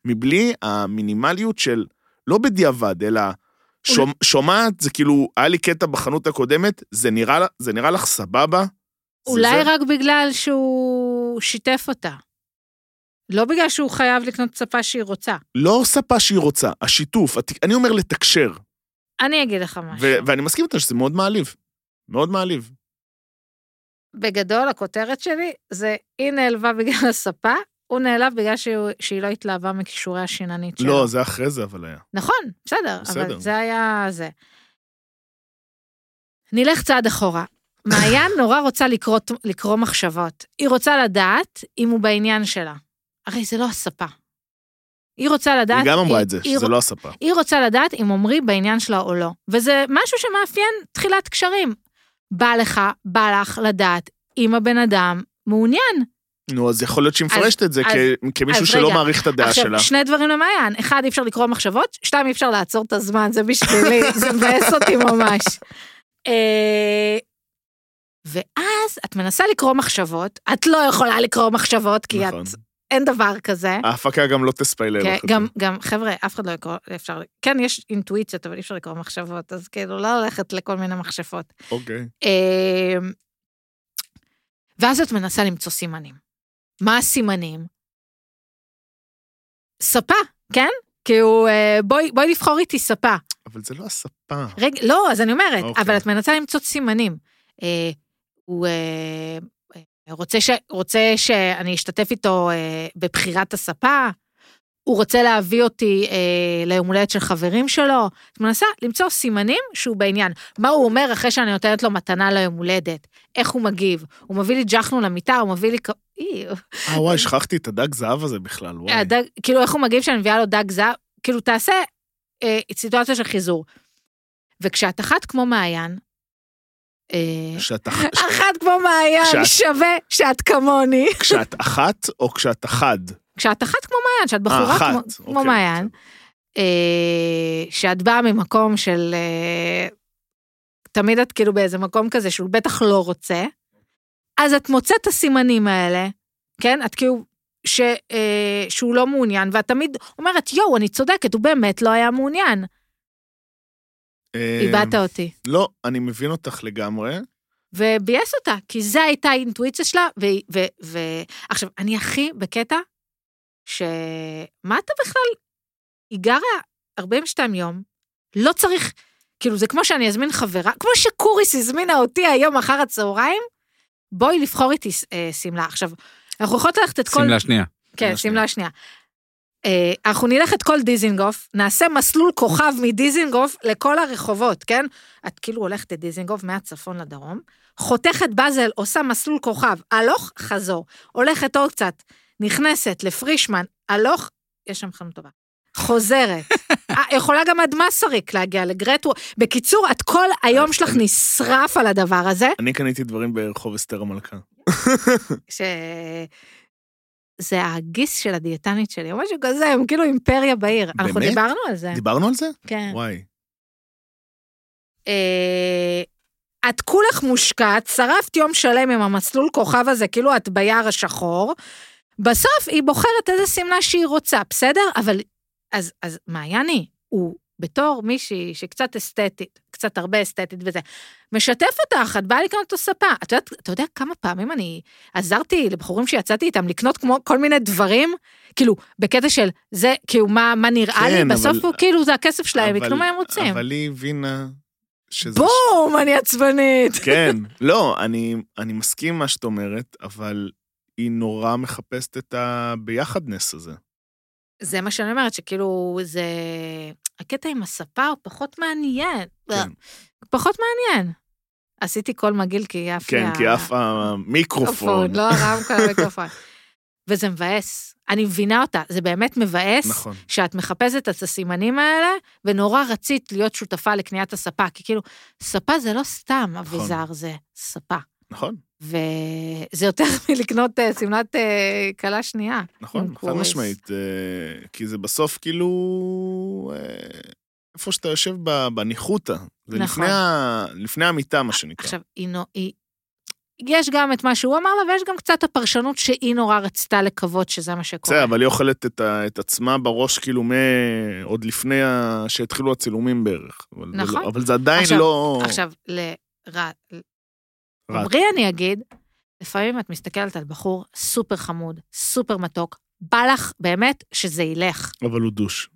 S1: מבלי המינימליות של, לא בדיעבד, אלא שומ, שומעת, זה כאילו, היה לי קטע בחנות הקודמת, זה נראה, לה- זה נראה לך סבבה? זה
S2: אולי
S1: זה?
S2: רק בגלל שהוא שיתף אותה. לא בגלל שהוא חייב לקנות שפה שהיא רוצה.
S1: לא ספה שהיא רוצה, השיתוף, הת- אני אומר לתקשר,
S2: אני אגיד לך משהו.
S1: ו- ואני מסכים איתה שזה מאוד מעליב. מאוד מעליב.
S2: בגדול, הכותרת שלי זה, היא נעלבה בגלל הספה, הוא נעלב בגלל שהוא, שהיא לא התלהבה מכישורי השיננית שלו.
S1: לא, זה אחרי זה אבל היה.
S2: נכון, בסדר,
S1: בסדר.
S2: אבל זה היה זה. נלך צעד
S1: [LAUGHS]
S2: אחורה. מעיין נורא רוצה לקרוא, לקרוא מחשבות. היא רוצה לדעת אם הוא בעניין שלה. הרי זה לא הספה. היא רוצה לדעת...
S1: היא גם אמרה את זה,
S2: היא
S1: שזה לא הספה.
S2: היא רוצה לדעת אם עמרי בעניין שלה או לא. וזה משהו שמאפיין תחילת קשרים. בא לך, בא לך לדעת אם הבן אדם מעוניין.
S1: נו, אז יכול להיות שהיא מפרשת את זה
S2: אז-
S1: כ- כמישהו
S2: אז
S1: שלא
S2: רגע,
S1: מעריך את הדעה
S2: עכשיו,
S1: שלה.
S2: שני דברים למעיין. אחד, אי אפשר לקרוא מחשבות, שתיים, אי אפשר לעצור את הזמן, זה
S1: [LAUGHS]
S2: בשבילי, זה מבאס אותי ממש. אה, ואז את מנסה לקרוא מחשבות, את לא יכולה לקרוא מחשבות, כי את,
S1: נכון.
S2: אין דבר כזה.
S1: ההפקה גם לא תספיילר.
S2: כן,
S1: לך את
S2: גם,
S1: זה.
S2: גם, חבר'ה, אף אחד לא יקרוא, אפשר, כן, יש אינטואיציות, אבל אי אפשר לקרוא מחשבות, אז כאילו, לא הולכת לכל מיני מחשבות.
S1: אוקיי.
S2: אמ, ואז את מנסה למצוא סימנים. מה הסימנים? ספה, כן? כאילו, אה, בואי, בואי לבחור איתי ספה.
S1: אבל זה לא הספה.
S2: רגע, לא, אז אני אומרת,
S1: אוקיי.
S2: אוקיי. אבל את מנסה למצוא סימנים. אה, הוא אה, אה, רוצה, ש, רוצה שאני אשתתף איתו אה, בבחירת הספה, הוא רוצה להביא אותי אה, ליום הולדת של חברים שלו. את מנסה למצוא סימנים שהוא בעניין. מה הוא אומר אחרי שאני נותנת לו מתנה ליום הולדת? איך הוא מגיב? הוא מביא לי ג'חנו למיטה, הוא מביא לי... ק- אי,
S1: אה, וואי, שכחתי את הדג זהב הזה בכלל, וואי.
S2: הדג, כאילו, איך הוא מגיב שאני מביאה לו דג זהב? כאילו, תעשה אה, סיטואציה של חיזור. וכשאת אחת כמו מעיין, אה,
S1: שאתה-
S2: אחת כמו מעיין
S1: כשאת-
S2: שווה שאת כמוני.
S1: כשאת אחת או כשאת אחד?
S2: כשאת אחת כמו מעיין, שאת בחורה
S1: אה, אחת.
S2: כמו, כמו
S1: אוקיי,
S2: מעיין, אה, שאת באה ממקום של... אה, תמיד את כאילו באיזה מקום כזה שהוא בטח לא רוצה, אז את מוצאת את הסימנים האלה, כן? את כאילו... ש, אה, שהוא לא מעוניין, ואת תמיד אומרת, יואו, אני צודקת, הוא באמת לא היה מעוניין.
S1: אה,
S2: איבדת אותי.
S1: לא, אני מבין אותך לגמרי.
S2: וביאס אותה, כי זו הייתה האינטואיציה שלה, ו... ו, ו... עכשיו, אני הכי בקטע, שמה אתה בכלל, היא גרה 42 יום, לא צריך, כאילו, זה כמו שאני אזמין חברה, כמו שקוריס הזמינה אותי היום אחר הצהריים, בואי לבחור איתי אה, שמלה. עכשיו, אנחנו יכולות ללכת את כל...
S3: שמלה שנייה.
S2: כן,
S1: שמלה
S2: שמלה שנייה. אה, אנחנו נלך את כל דיזינגוף, נעשה מסלול כוכב מדיזינגוף לכל הרחובות, כן? את כאילו הולכת את דיזינגוף מהצפון לדרום, חותכת באזל, עושה מסלול כוכב, הלוך, חזור, הולכת עוד קצת, נכנסת לפרישמן, הלוך, יש שם חנות טובה. חוזרת. אה, יכולה גם עד מסריק להגיע לגרטוור. בקיצור, את כל היום שלך נשרף על הדבר הזה.
S1: אני קניתי דברים ברחוב אסתר המלכה.
S2: ש... זה הגיס של הדיאטנית שלי, או משהו כזה, הם כאילו אימפריה בעיר. באמת? אנחנו
S1: באמת?
S2: דיברנו על זה.
S1: דיברנו על זה?
S2: כן.
S1: וואי.
S2: אה, את כולך מושקעת, שרפת יום שלם עם המסלול כוכב הזה, כאילו את ביער השחור. בסוף היא בוחרת איזה שמלה שהיא רוצה, בסדר? אבל, אז, אז מעייני, הוא בתור מישהי שקצת אסתטית, קצת הרבה אסתטית וזה, משתף אותך, את באה לקנות את הספה. את יודעת, אתה יודע כמה פעמים אני עזרתי לבחורים שיצאתי איתם לקנות כמו כל מיני דברים? כאילו, בקטע של זה, כאילו, מה, מה נראה לי?
S1: כן,
S2: בסוף
S1: אבל-
S2: הוא כאילו, זה הכסף שלהם,
S1: אבל-
S2: יקנו מה הם רוצים.
S1: אבל היא הבינה שזה...
S2: בום, אני עצבנית.
S1: כן, [LAUGHS] לא, אני, אני מסכים עם מה שאת אומרת, אבל היא נורא מחפשת את הביחדנס הזה.
S2: זה מה שאני אומרת, שכאילו, זה... הקטע עם הספה הוא פחות מעניין.
S1: כן.
S2: פחות מעניין. עשיתי קול מגעיל כי עף לי
S1: כן, כי
S2: ה-
S1: אף המיקרופון.
S2: מיקרופון, לא
S1: [LAUGHS]
S2: הרמקול, המיקרופון. וזה מבאס. אני מבינה אותה, זה באמת מבאס.
S1: נכון.
S2: שאת מחפשת את הסימנים האלה, ונורא רצית להיות שותפה לקניית הספה, כי כאילו, ספה זה לא סתם אביזר, זה ספה.
S1: נכון,
S2: וזה יותר [LAUGHS] מלקנות אה, שמלת אה, כלה שנייה. עם
S1: נכון, חד
S2: קורס.
S1: משמעית. אה, כי זה בסוף כאילו... אה, איפה שאתה יושב ב- בניחותא. זה
S2: נכון.
S1: לפני ה- לפני המיטה, מה שנקרא.
S2: עכשיו, היא נו... היא... יש גם את מה שהוא אמר לה, ויש גם קצת הפרשנות שהיא נורא רצתה לקוות שזה מה שקורה.
S1: בסדר, אבל היא אוכלת את, ה, את עצמה בראש כאילו מ... עוד לפני ה... שהתחילו הצילומים בערך. אבל זה לא-
S2: נכון.
S1: אבל זה עדיין
S2: עכשיו-
S1: לא...
S2: עכשיו, לרע...
S1: רע.
S2: עמרי אני אגיד, לפעמים את מסתכלת על בחור סופר חמוד, סופר מתוק, בא לך באמת שזה ילך.
S1: אבל הוא דוש.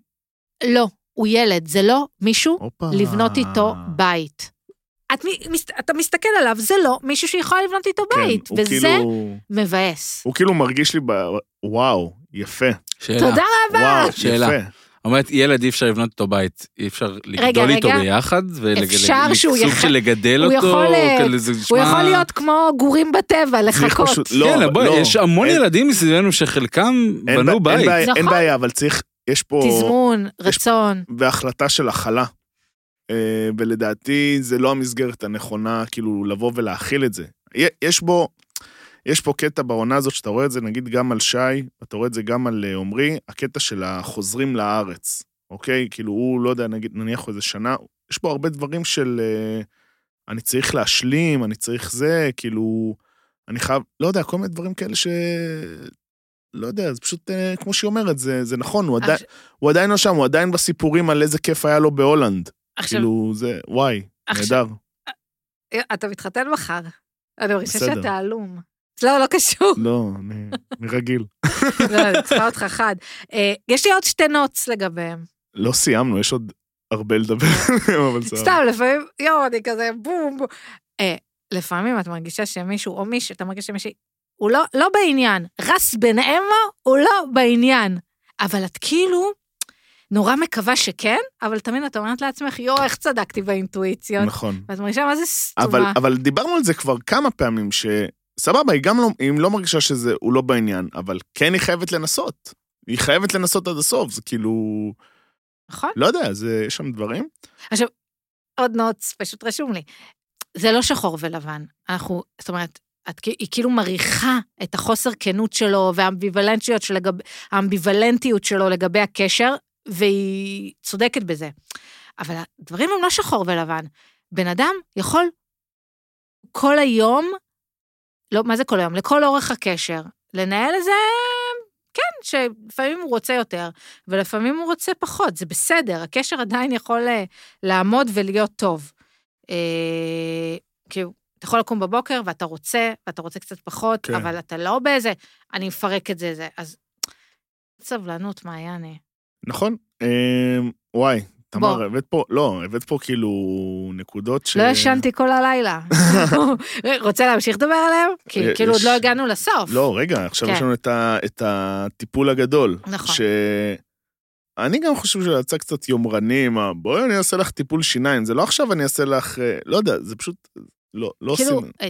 S2: לא, הוא ילד, זה לא מישהו
S1: הופה. כן,
S2: לבנות איתו בית. את, מ- מס- אתה מסתכל עליו, זה לא מישהו שיכול לבנות איתו בית,
S1: כן, הוא
S2: וזה
S1: כאילו...
S2: מבאס.
S1: הוא כאילו מרגיש לי ב... וואו, יפה.
S3: שאלה.
S2: תודה
S1: וואו,
S3: שאלה.
S1: יפה.
S3: אומרת, ילד אי אפשר לבנות איתו בית, אי אפשר לגדול
S2: רגע.
S3: איתו ביחד,
S2: אפשר שהוא
S3: סוג
S2: יח-
S3: של לגדל
S2: הוא
S3: אותו,
S2: יכול, אה,
S3: כאילו, זה
S2: הוא
S3: נשמע-
S2: יכול להיות כמו גורים בטבע, לחכות.
S1: פשוט- לא,
S3: כן, בוא,
S1: לא.
S3: יש המון
S1: אין-
S3: ילדים מסביבנו שחלקם
S1: אין בע-
S3: בנו
S1: אין
S3: בית.
S1: בעיה- אין
S2: נכון.
S1: בעיה, אבל צריך... יש פה...
S2: תזמון,
S1: יש-
S2: רצון.
S1: והחלטה של הכלה. אה, ולדעתי זה לא המסגרת הנכונה, כאילו, לבוא ולהכיל את זה. י- יש בו, יש פה קטע בעונה הזאת, שאתה רואה את זה נגיד גם על שי, ואתה רואה את זה גם על אה, עמרי, הקטע של החוזרים לארץ, אוקיי? כאילו, הוא, לא יודע, נגיד, נניח הוא איזה שנה, יש פה הרבה דברים של אה, אני צריך להשלים, אני צריך זה, כאילו, אני חייב, לא יודע, כל מיני דברים כאלה ש... לא יודע, זה פשוט, אה, כמו שהיא אומרת, זה, זה נכון, הוא עדיין...
S2: עכשיו-
S1: הוא עדיין לא שם, הוא עדיין בסיפורים על איזה כיף היה לו בהולנד.
S2: עכשיו,
S1: כאילו, זה, וואי,
S2: עכשיו, אה,
S1: נהדר.
S2: אתה מתחתן מחר. אני מרגישה
S1: בסדר.
S2: שאתה עלום. לא, לא
S1: [LAUGHS]
S2: קשור.
S1: לא, אני אני רגיל.
S2: לא, אני צריכה אותך חד. אה, יש לי עוד שתי נוץ לגביהם.
S1: לא סיימנו, יש עוד הרבה לדבר, אבל סבבה.
S2: סתם, לפעמים, יואו, אני כזה בום. בום. אה, לפעמים את מרגישה שמישהו, או מישהו, אתה מרגיש שמישהו, הוא לא, לא בעניין. רס בן אמו, הוא לא בעניין. אבל את כאילו נורא מקווה שכן, אבל תמיד את אומרת לעצמך, יואו, איך צדקתי באינטואיציות.
S1: נכון.
S2: ואת מרגישה מה זה
S1: אבל,
S2: סתומה.
S1: אבל דיברנו על זה כבר כמה פעמים, שסבבה, היא גם לא, היא לא מרגישה שזה, הוא לא בעניין, אבל כן היא חייבת לנסות. היא חייבת לנסות עד הסוף, זה כאילו,
S2: נכון?
S1: לא יודע, זה, יש שם דברים.
S2: עוד נוץ, פשוט רשום לי. זה לא שחור ולבן. אנחנו, זאת אומרת, את, כא- היא כאילו מריחה את החוסר כנות שלו והאמביוולנטיות שלגב, האמביוולנטיות שלו לגבי הקשר, והיא צודקת בזה. אבל הדברים הם לא שחור ולבן. בן אדם יכול כל היום, לא, מה זה כל היום? לכל אורך הקשר, לנהל איזה... כן, שלפעמים הוא רוצה יותר, ולפעמים הוא רוצה פחות, זה בסדר, הקשר עדיין יכול אה, לעמוד ולהיות טוב. אה, כאילו, אתה יכול לקום בבוקר ואתה רוצה, ואתה רוצה קצת פחות,
S1: כן.
S2: כן. אבל אתה לא באיזה, אני מפרק את זה, זה. אז סבלנות, מה היה אני?
S1: נכון? אה, וואי, תמר,
S2: בוא.
S1: הבאת פה, לא, הבאת פה כאילו נקודות ש...
S2: לא ישנתי
S1: [LAUGHS]
S2: כל הלילה. רוצה להמשיך לדבר עליהם? כי
S1: אה,
S2: כאילו עוד
S1: יש-
S2: לא הגענו לסוף.
S1: לא, רגע, עכשיו
S2: כן.
S1: יש לנו את, ה, את הטיפול הגדול.
S2: נכון.
S1: ש... אני גם חושב שזה יצא קצת יומרני עם ה... בואי אני אעשה לך טיפול שיניים, זה לא עכשיו אני אעשה לך... אה, לא יודע, זה פשוט... לא, לא
S2: כאילו,
S1: עושים...
S2: אה,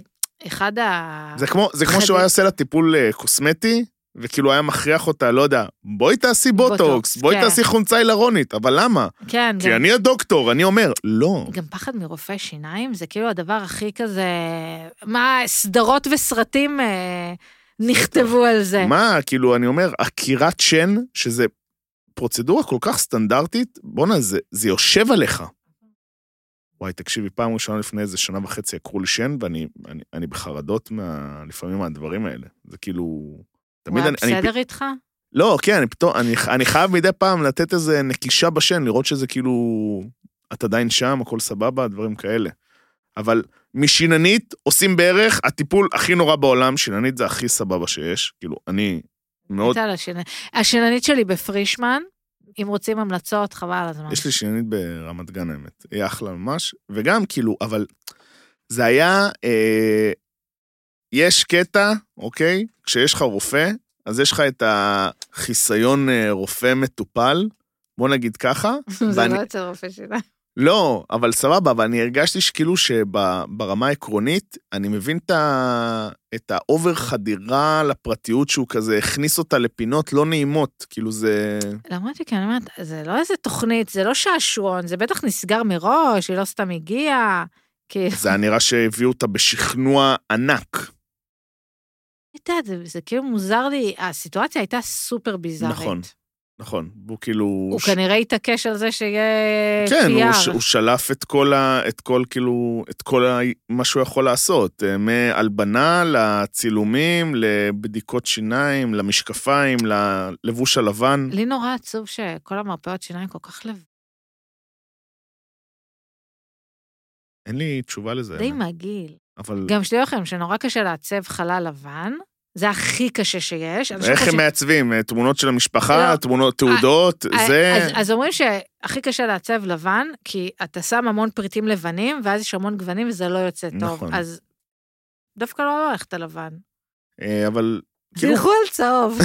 S2: אחד ה...
S1: זה כמו, זה כמו
S2: חדי-
S1: שהוא היה עושה לה טיפול אה, קוסמטי, וכאילו היה מכריח אותה, לא יודע, בואי תעשי
S2: בוטוקס,
S1: בוטוקס, בואי
S2: כן.
S1: תעשי חומצה הילרונית, אבל למה?
S2: כן,
S1: כי
S2: גם-
S1: אני הדוקטור, אני אומר, לא.
S2: גם פחד מרופא שיניים זה כאילו הדבר הכי כזה... מה, סדרות וסרטים אה, נכתבו על זה.
S1: מה, כאילו, אני אומר, עקירת שן, שזה פרוצדורה כל כך סטנדרטית, בואנה, זה, זה יושב עליך. וואי, תקשיבי, פעם ראשונה לפני איזה שנה וחצי עקרו לי שן, ואני אני, אני בחרדות מה, לפעמים מהדברים האלה. זה כאילו...
S2: הוא
S1: תמיד
S2: היה
S1: אני... אני,
S2: בסדר איתך?
S1: לא, כן, אני פתאום... אני, אני חייב מדי פעם לתת איזה נקישה בשן, לראות שזה כאילו... את עדיין שם, הכל סבבה, דברים כאלה. אבל משיננית עושים בערך הטיפול הכי נורא בעולם, שיננית זה הכי סבבה שיש. כאילו, אני מאוד
S2: הייתה לה שינ- השיננית שלי בפרישמן, אם רוצים המלצות, חבל על הזמן.
S1: יש לי שניונית ברמת גן, האמת. היא אחלה ממש. וגם, כאילו, אבל זה היה... אה, יש קטע, אוקיי? כשיש לך רופא, אז יש לך את החיסיון אה, רופא מטופל, בוא נגיד ככה.
S2: [LAUGHS] זה
S1: ואני-
S2: לא אצל רופא שיניים.
S1: לא, אבל סבבה, אבל אני הרגשתי שכאילו שברמה העקרונית, אני מבין את, ה... את האובר חדירה לפרטיות שהוא כזה הכניס אותה לפינות לא נעימות, כאילו זה...
S2: למרות שכן, אני אומרת, זה לא איזה תוכנית, זה לא שעשועון, זה בטח נסגר מראש, היא לא סתם הגיעה. כי,
S1: זה היה נראה שהביאו אותה בשכנוע ענק.
S2: אתה יודע, זה- זה כאילו מוזר לי, הסיטואציה הייתה סופר ביזארית.
S1: נכון. נכון, הוא כאילו...
S2: הוא כנראה התעקש על זה שיהיה
S1: כן, הוא, ש...
S2: PR.
S1: הוא שלף את כל, ה... את כל כאילו, את כל ה... מה שהוא יכול לעשות, אה, מהלבנה לצילומים, לבדיקות שיניים, למשקפיים, ללבוש הלבן.
S2: לי נורא עצוב שכל המרפאות שיניים כל כך לב...
S1: אין לי תשובה לזה.
S2: די
S1: האמת.
S2: מגעיל.
S1: אבל
S2: גם שתדעו לכם שנורא קשה לעצב חלל לבן, זה הכי קשה שיש. אנשים
S1: איך הם
S2: חושבים-
S1: מעצבים? אה, תמונות של המשפחה,
S2: לא. אה,
S1: תמונות, תעודות, זה...
S2: אז, אז אומרים שהכי קשה לעצב לבן, כי אתה שם המון פריטים לבנים, ואז יש המון גוונים וזה לא יוצא טוב.
S1: נכון.
S2: אז דווקא לא הולכת הלבן.
S1: אה, אבל כאילו,
S2: תלכו על צהוב.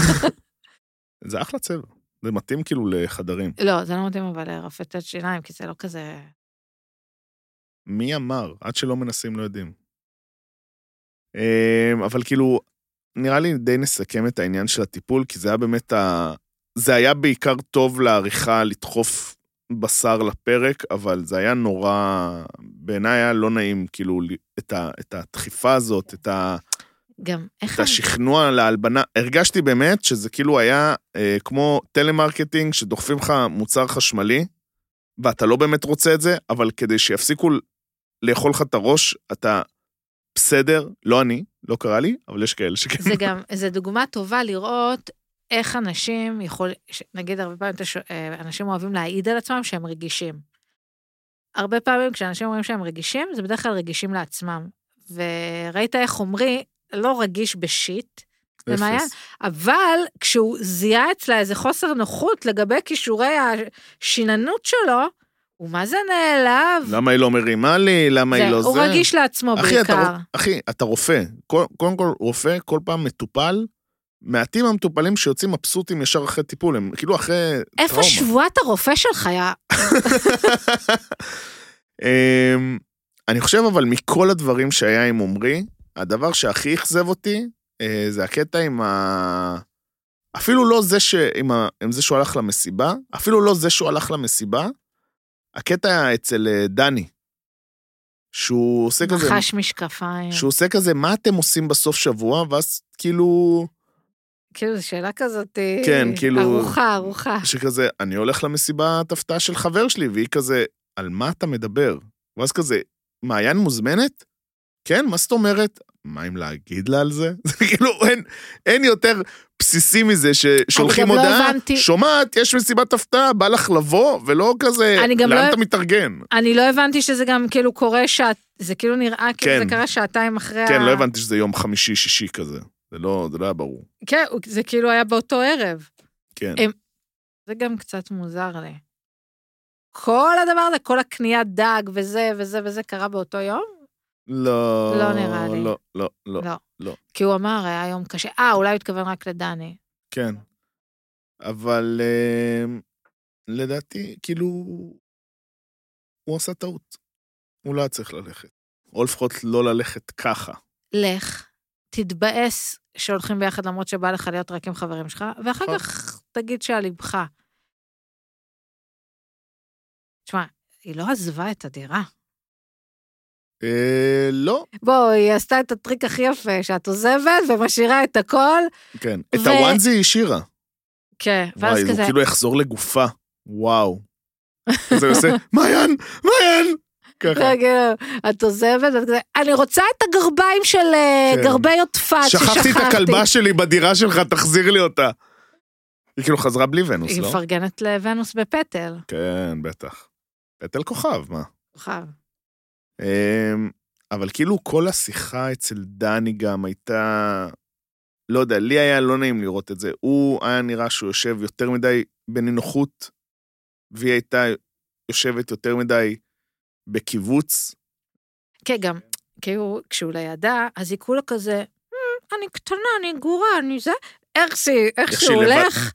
S1: זה אחלה צבע. זה מתאים כאילו לחדרים.
S2: [LAUGHS] לא, זה לא מתאים אבל לרפטת שיניים, כי זה לא כזה...
S1: מי אמר? עד שלא מנסים לא יודעים. אמ, אבל כאילו, נראה לי די נסכם את העניין של הטיפול, כי זה היה באמת ה... זה היה בעיקר טוב לעריכה לדחוף בשר לפרק, אבל זה היה נורא... בעיניי היה לא נעים, כאילו, ל- את, ה... את הדחיפה הזאת, את, ה...
S2: גם איך...
S1: את השכנוע להלבנה. הרגשתי באמת שזה כאילו היה אה, כמו טלמרקטינג, שדוחפים לך מוצר חשמלי, ואתה לא באמת רוצה את זה, אבל כדי שיפסיקו לאכול לך את הראש, אתה בסדר, לא אני, לא קרה לי, אבל יש כאלה שכן.
S2: זה גם, זו דוגמה טובה לראות איך אנשים יכול... ש- נגיד, הרבה פעמים אתה שו- אה, אנשים אוהבים להעיד על עצמם שהם רגישים. הרבה פעמים כשאנשים אומרים שהם רגישים, זה בדרך כלל רגישים לעצמם. וראית איך עומרי לא רגיש בשיט,
S1: אפס.
S2: מעיין. אבל כשהוא זיהה אצלה איזה חוסר נוחות לגבי כישורי השיננות שלו, הוא מה זה נעלב.
S1: למה היא לא מרימה לי? למה
S2: זה,
S1: היא לא זה?
S2: הוא רגיש לעצמו
S1: אחי, אתה,
S2: בעיקר.
S1: רופ- אחי, אתה רופא. כל- קודם כל, רופא כל פעם מטופל. מעטים המטופלים שיוצאים מבסוטים ישר אחרי טיפול, הם כאילו אחרי
S2: איפה
S1: טראומה.
S2: שבועת הרופא שלך היה?
S1: אמ, אני חושב אבל מכל הדברים שהיה עם עמרי, הדבר שהכי אכזב אותי אה, זה הקטע עם ה... אפילו לא זה ש... עם, ה... עם זה שהוא הלך למסיבה, אפילו לא זה שהוא הלך למסיבה, הקטע אצל אה, דני, שהוא עושה כזה...
S2: נחש משקפיים.
S1: שהוא עושה כזה, מה אתם עושים בסוף שבוע, ואז כאילו...
S2: כאילו, זו שאלה כזאת... אה,
S1: כן, כאילו-
S2: ארוחה, ארוחה.
S1: שכזה, אני הולך למסיבת הפתעה של חבר שלי, והיא כזה, על מה אתה מדבר? ואז כזה, מעיין מוזמנת? כן, מה זאת אומרת? מה אם להגיד לה על זה? [LAUGHS] זה כאילו, אין, אין יותר בסיסי מזה ששולחים
S2: גם לא
S1: הודעה,
S2: הבנתי-
S1: שומעת, יש מסיבת הפתעה, בא לך לבוא, ולא כזה,
S2: אני גם
S1: לאן
S2: לא-
S1: אתה מתארגן?
S2: אני לא הבנתי שזה גם כאילו קורה שעת... זה כאילו נראה כאילו
S1: כן.
S2: זה קרה שעתיים אחרי
S1: כן,
S2: ה...
S1: לא הבנתי שזה יום חמישי-שישי כזה. זה לא, זה לא היה ברור.
S2: כן, זה כאילו היה באותו ערב.
S1: כן.
S2: אה, זה גם קצת מוזר לי. כל הדבר הזה, כל הקניית דג וזה וזה וזה קרה באותו יום?
S1: לא...
S2: לא נראה לי.
S1: לא, לא, לא. לא.
S2: כי הוא אמר, היה יום קשה. אה, אולי הוא התכוון רק לדני.
S1: כן. אבל אה, לדעתי, כאילו, הוא עשה טעות. הוא לא היה צריך ללכת. או לפחות לא ללכת ככה.
S2: לך, תתבאס שהולכים ביחד למרות שבא לך להיות רק עם חברים שלך, ואחר
S1: נכון.
S2: כך תגיד שעל ליבך. תשמע, היא לא עזבה את הדירה.
S1: אה, לא.
S2: בוא, היא עשתה את הטריק הכי יפה, שאת עוזבת ומשאירה את הכל.
S1: כן. את
S2: ו-
S1: הוואנזי היא השאירה.
S2: כן, ואז
S1: וואי,
S2: כזה,
S1: הוא כאילו יחזור לגופה. וואו. זה עושה, מעיין, מעיין! ככה.
S2: כאילו, את עוזבת, ואת כזה, אני רוצה את הגרביים של אה,
S1: כן.
S2: גרבי יודפת ששכחתי.
S1: שכחתי את הכלבה שלי בדירה שלך, תחזיר לי אותה. היא כאילו חזרה בלי ונוס,
S2: היא
S1: לא?
S2: מפרגנת לוונוס בפטל.
S1: כן, בטח. פטל כוכב, מה?
S2: כוכב.
S1: אמ, אבל כאילו כל השיחה אצל דני גם הייתה לא יודע, לי היה לא נעים לראות את זה. הוא היה נראה שהוא יושב יותר מדי בנינוחות, והיא הייתה יושבת יותר מדי בקיבוץ.
S2: כן, גם, כאילו, כשהוא לידה, אז היא כולה כזה, "Hmm, אני קטנה, אני גורה, אני זה, איך שהיא, איך
S1: איך
S2: שהוא
S1: שהיא לבד-
S2: הולך,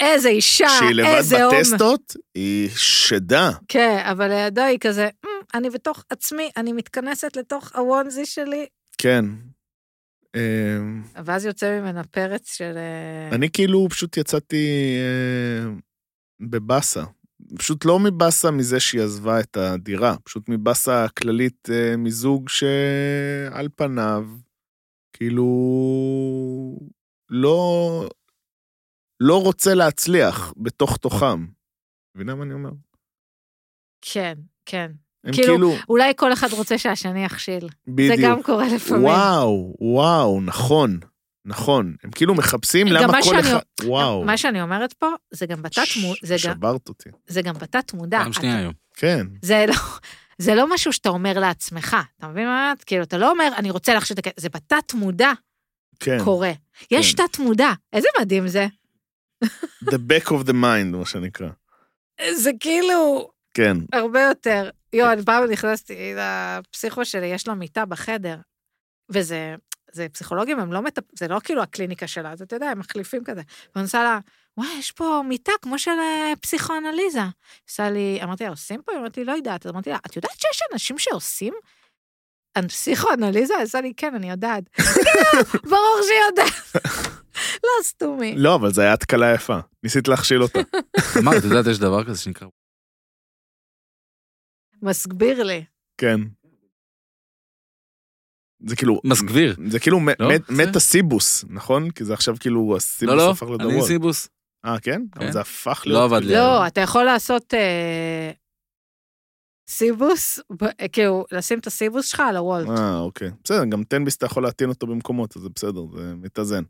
S2: איזה אישה,
S1: כשהיא לבד
S2: איזה הומו.
S1: בטסטות, היא שדה.
S2: כן, אבל לידו היא כזה, "Hmm, אני בתוך עצמי, אני מתכנסת לתוך הוונזי שלי,
S1: כן. אמ,
S2: ואז יוצא ממנה פרץ של... אה,
S1: אני כאילו פשוט יצאתי אה, בבאסה. פשוט לא מבאסה מזה שהיא עזבה את הדירה, פשוט מבאסה כללית אה, מזוג שעל פניו, כאילו, לא, לא רוצה להצליח בתוך תוכם. מבינה מה אני אומר?
S2: כן, כן.
S1: הם
S2: כאילו,
S1: כאילו,
S2: אולי כל אחד רוצה שהשני יכשיל.
S1: בדיוק.
S2: זה גם קורה לפעמים.
S1: וואו, וואו, נכון, נכון. הם כאילו מחפשים
S2: גם
S1: למה
S2: מה
S1: כל
S2: שאני-
S1: אחד... וואו,
S2: מה שאני אומרת פה, זה גם בתת מו- זה גם-
S1: שברת אותי.
S2: זה גם בתת מודע.
S3: פעם שנייה היום.
S1: כן.
S2: זה לא... זה לא משהו שאתה אומר לעצמך, אתה מבין מה? את- כאילו, אתה לא אומר, אני רוצה להכשיל את הכסף, זה בתת מודע
S1: כן,
S2: קורה. יש
S1: כן.
S2: תת מודע, איזה מדהים זה.
S1: the back of the mind, מה שנקרא.
S2: זה כאילו,
S1: כן,
S2: הרבה יותר. יואו, אני פעם נכנסתי לפסיכו שלי, יש לה מיטה בחדר, וזה, זה פסיכולוגים, הם לא מטפ... זה לא כאילו הקליניקה שלה, אז אתה יודע, הם מחליפים כזה. ואני עושה לה, וואי, יש פה מיטה כמו של אה, פסיכואנליזה. היא עושה לי, אמרתי לה, עושים פה? היא אומרת לי, לא יודעת. אז אמרתי לה, את יודעת שיש אנשים שעושים? אנ- פסיכואנליזה? היא עושה לי, כן, אני יודעת. [LAUGHS] "כן, ברור שהיא יודעת. [LAUGHS] לא, סתומי.
S1: לא, אבל זו הייתה התקלה יפה. ניסית להכשיל
S3: [LAUGHS]
S1: אותה.
S3: אמרת, את יודעת, יש דבר כזה שנקרא...
S2: מסביר לי.
S1: כן. זה כאילו...
S3: מסגביר.
S1: זה כאילו מ-
S3: לא?
S1: מ-
S3: זה-
S1: מטה סיבוס, נכון? כי זה עכשיו כאילו הסיבוס
S3: לא, לא,
S1: הפך
S3: אני
S1: לדורות.
S3: סיבוס.
S1: אה, כן? אבל
S3: כן.
S1: זה הפך
S3: לא
S1: להיות...
S3: עבד לי.
S2: לא, אתה יכול לעשות אה, סיבוס, ב- כאילו, לשים את הסיבוס שלך על הוולט.
S1: אה, אוקיי. בסדר, גם תן-ביס אתה יכול להטעין אותו במקומות, אז זה בסדר, זה מתאזן.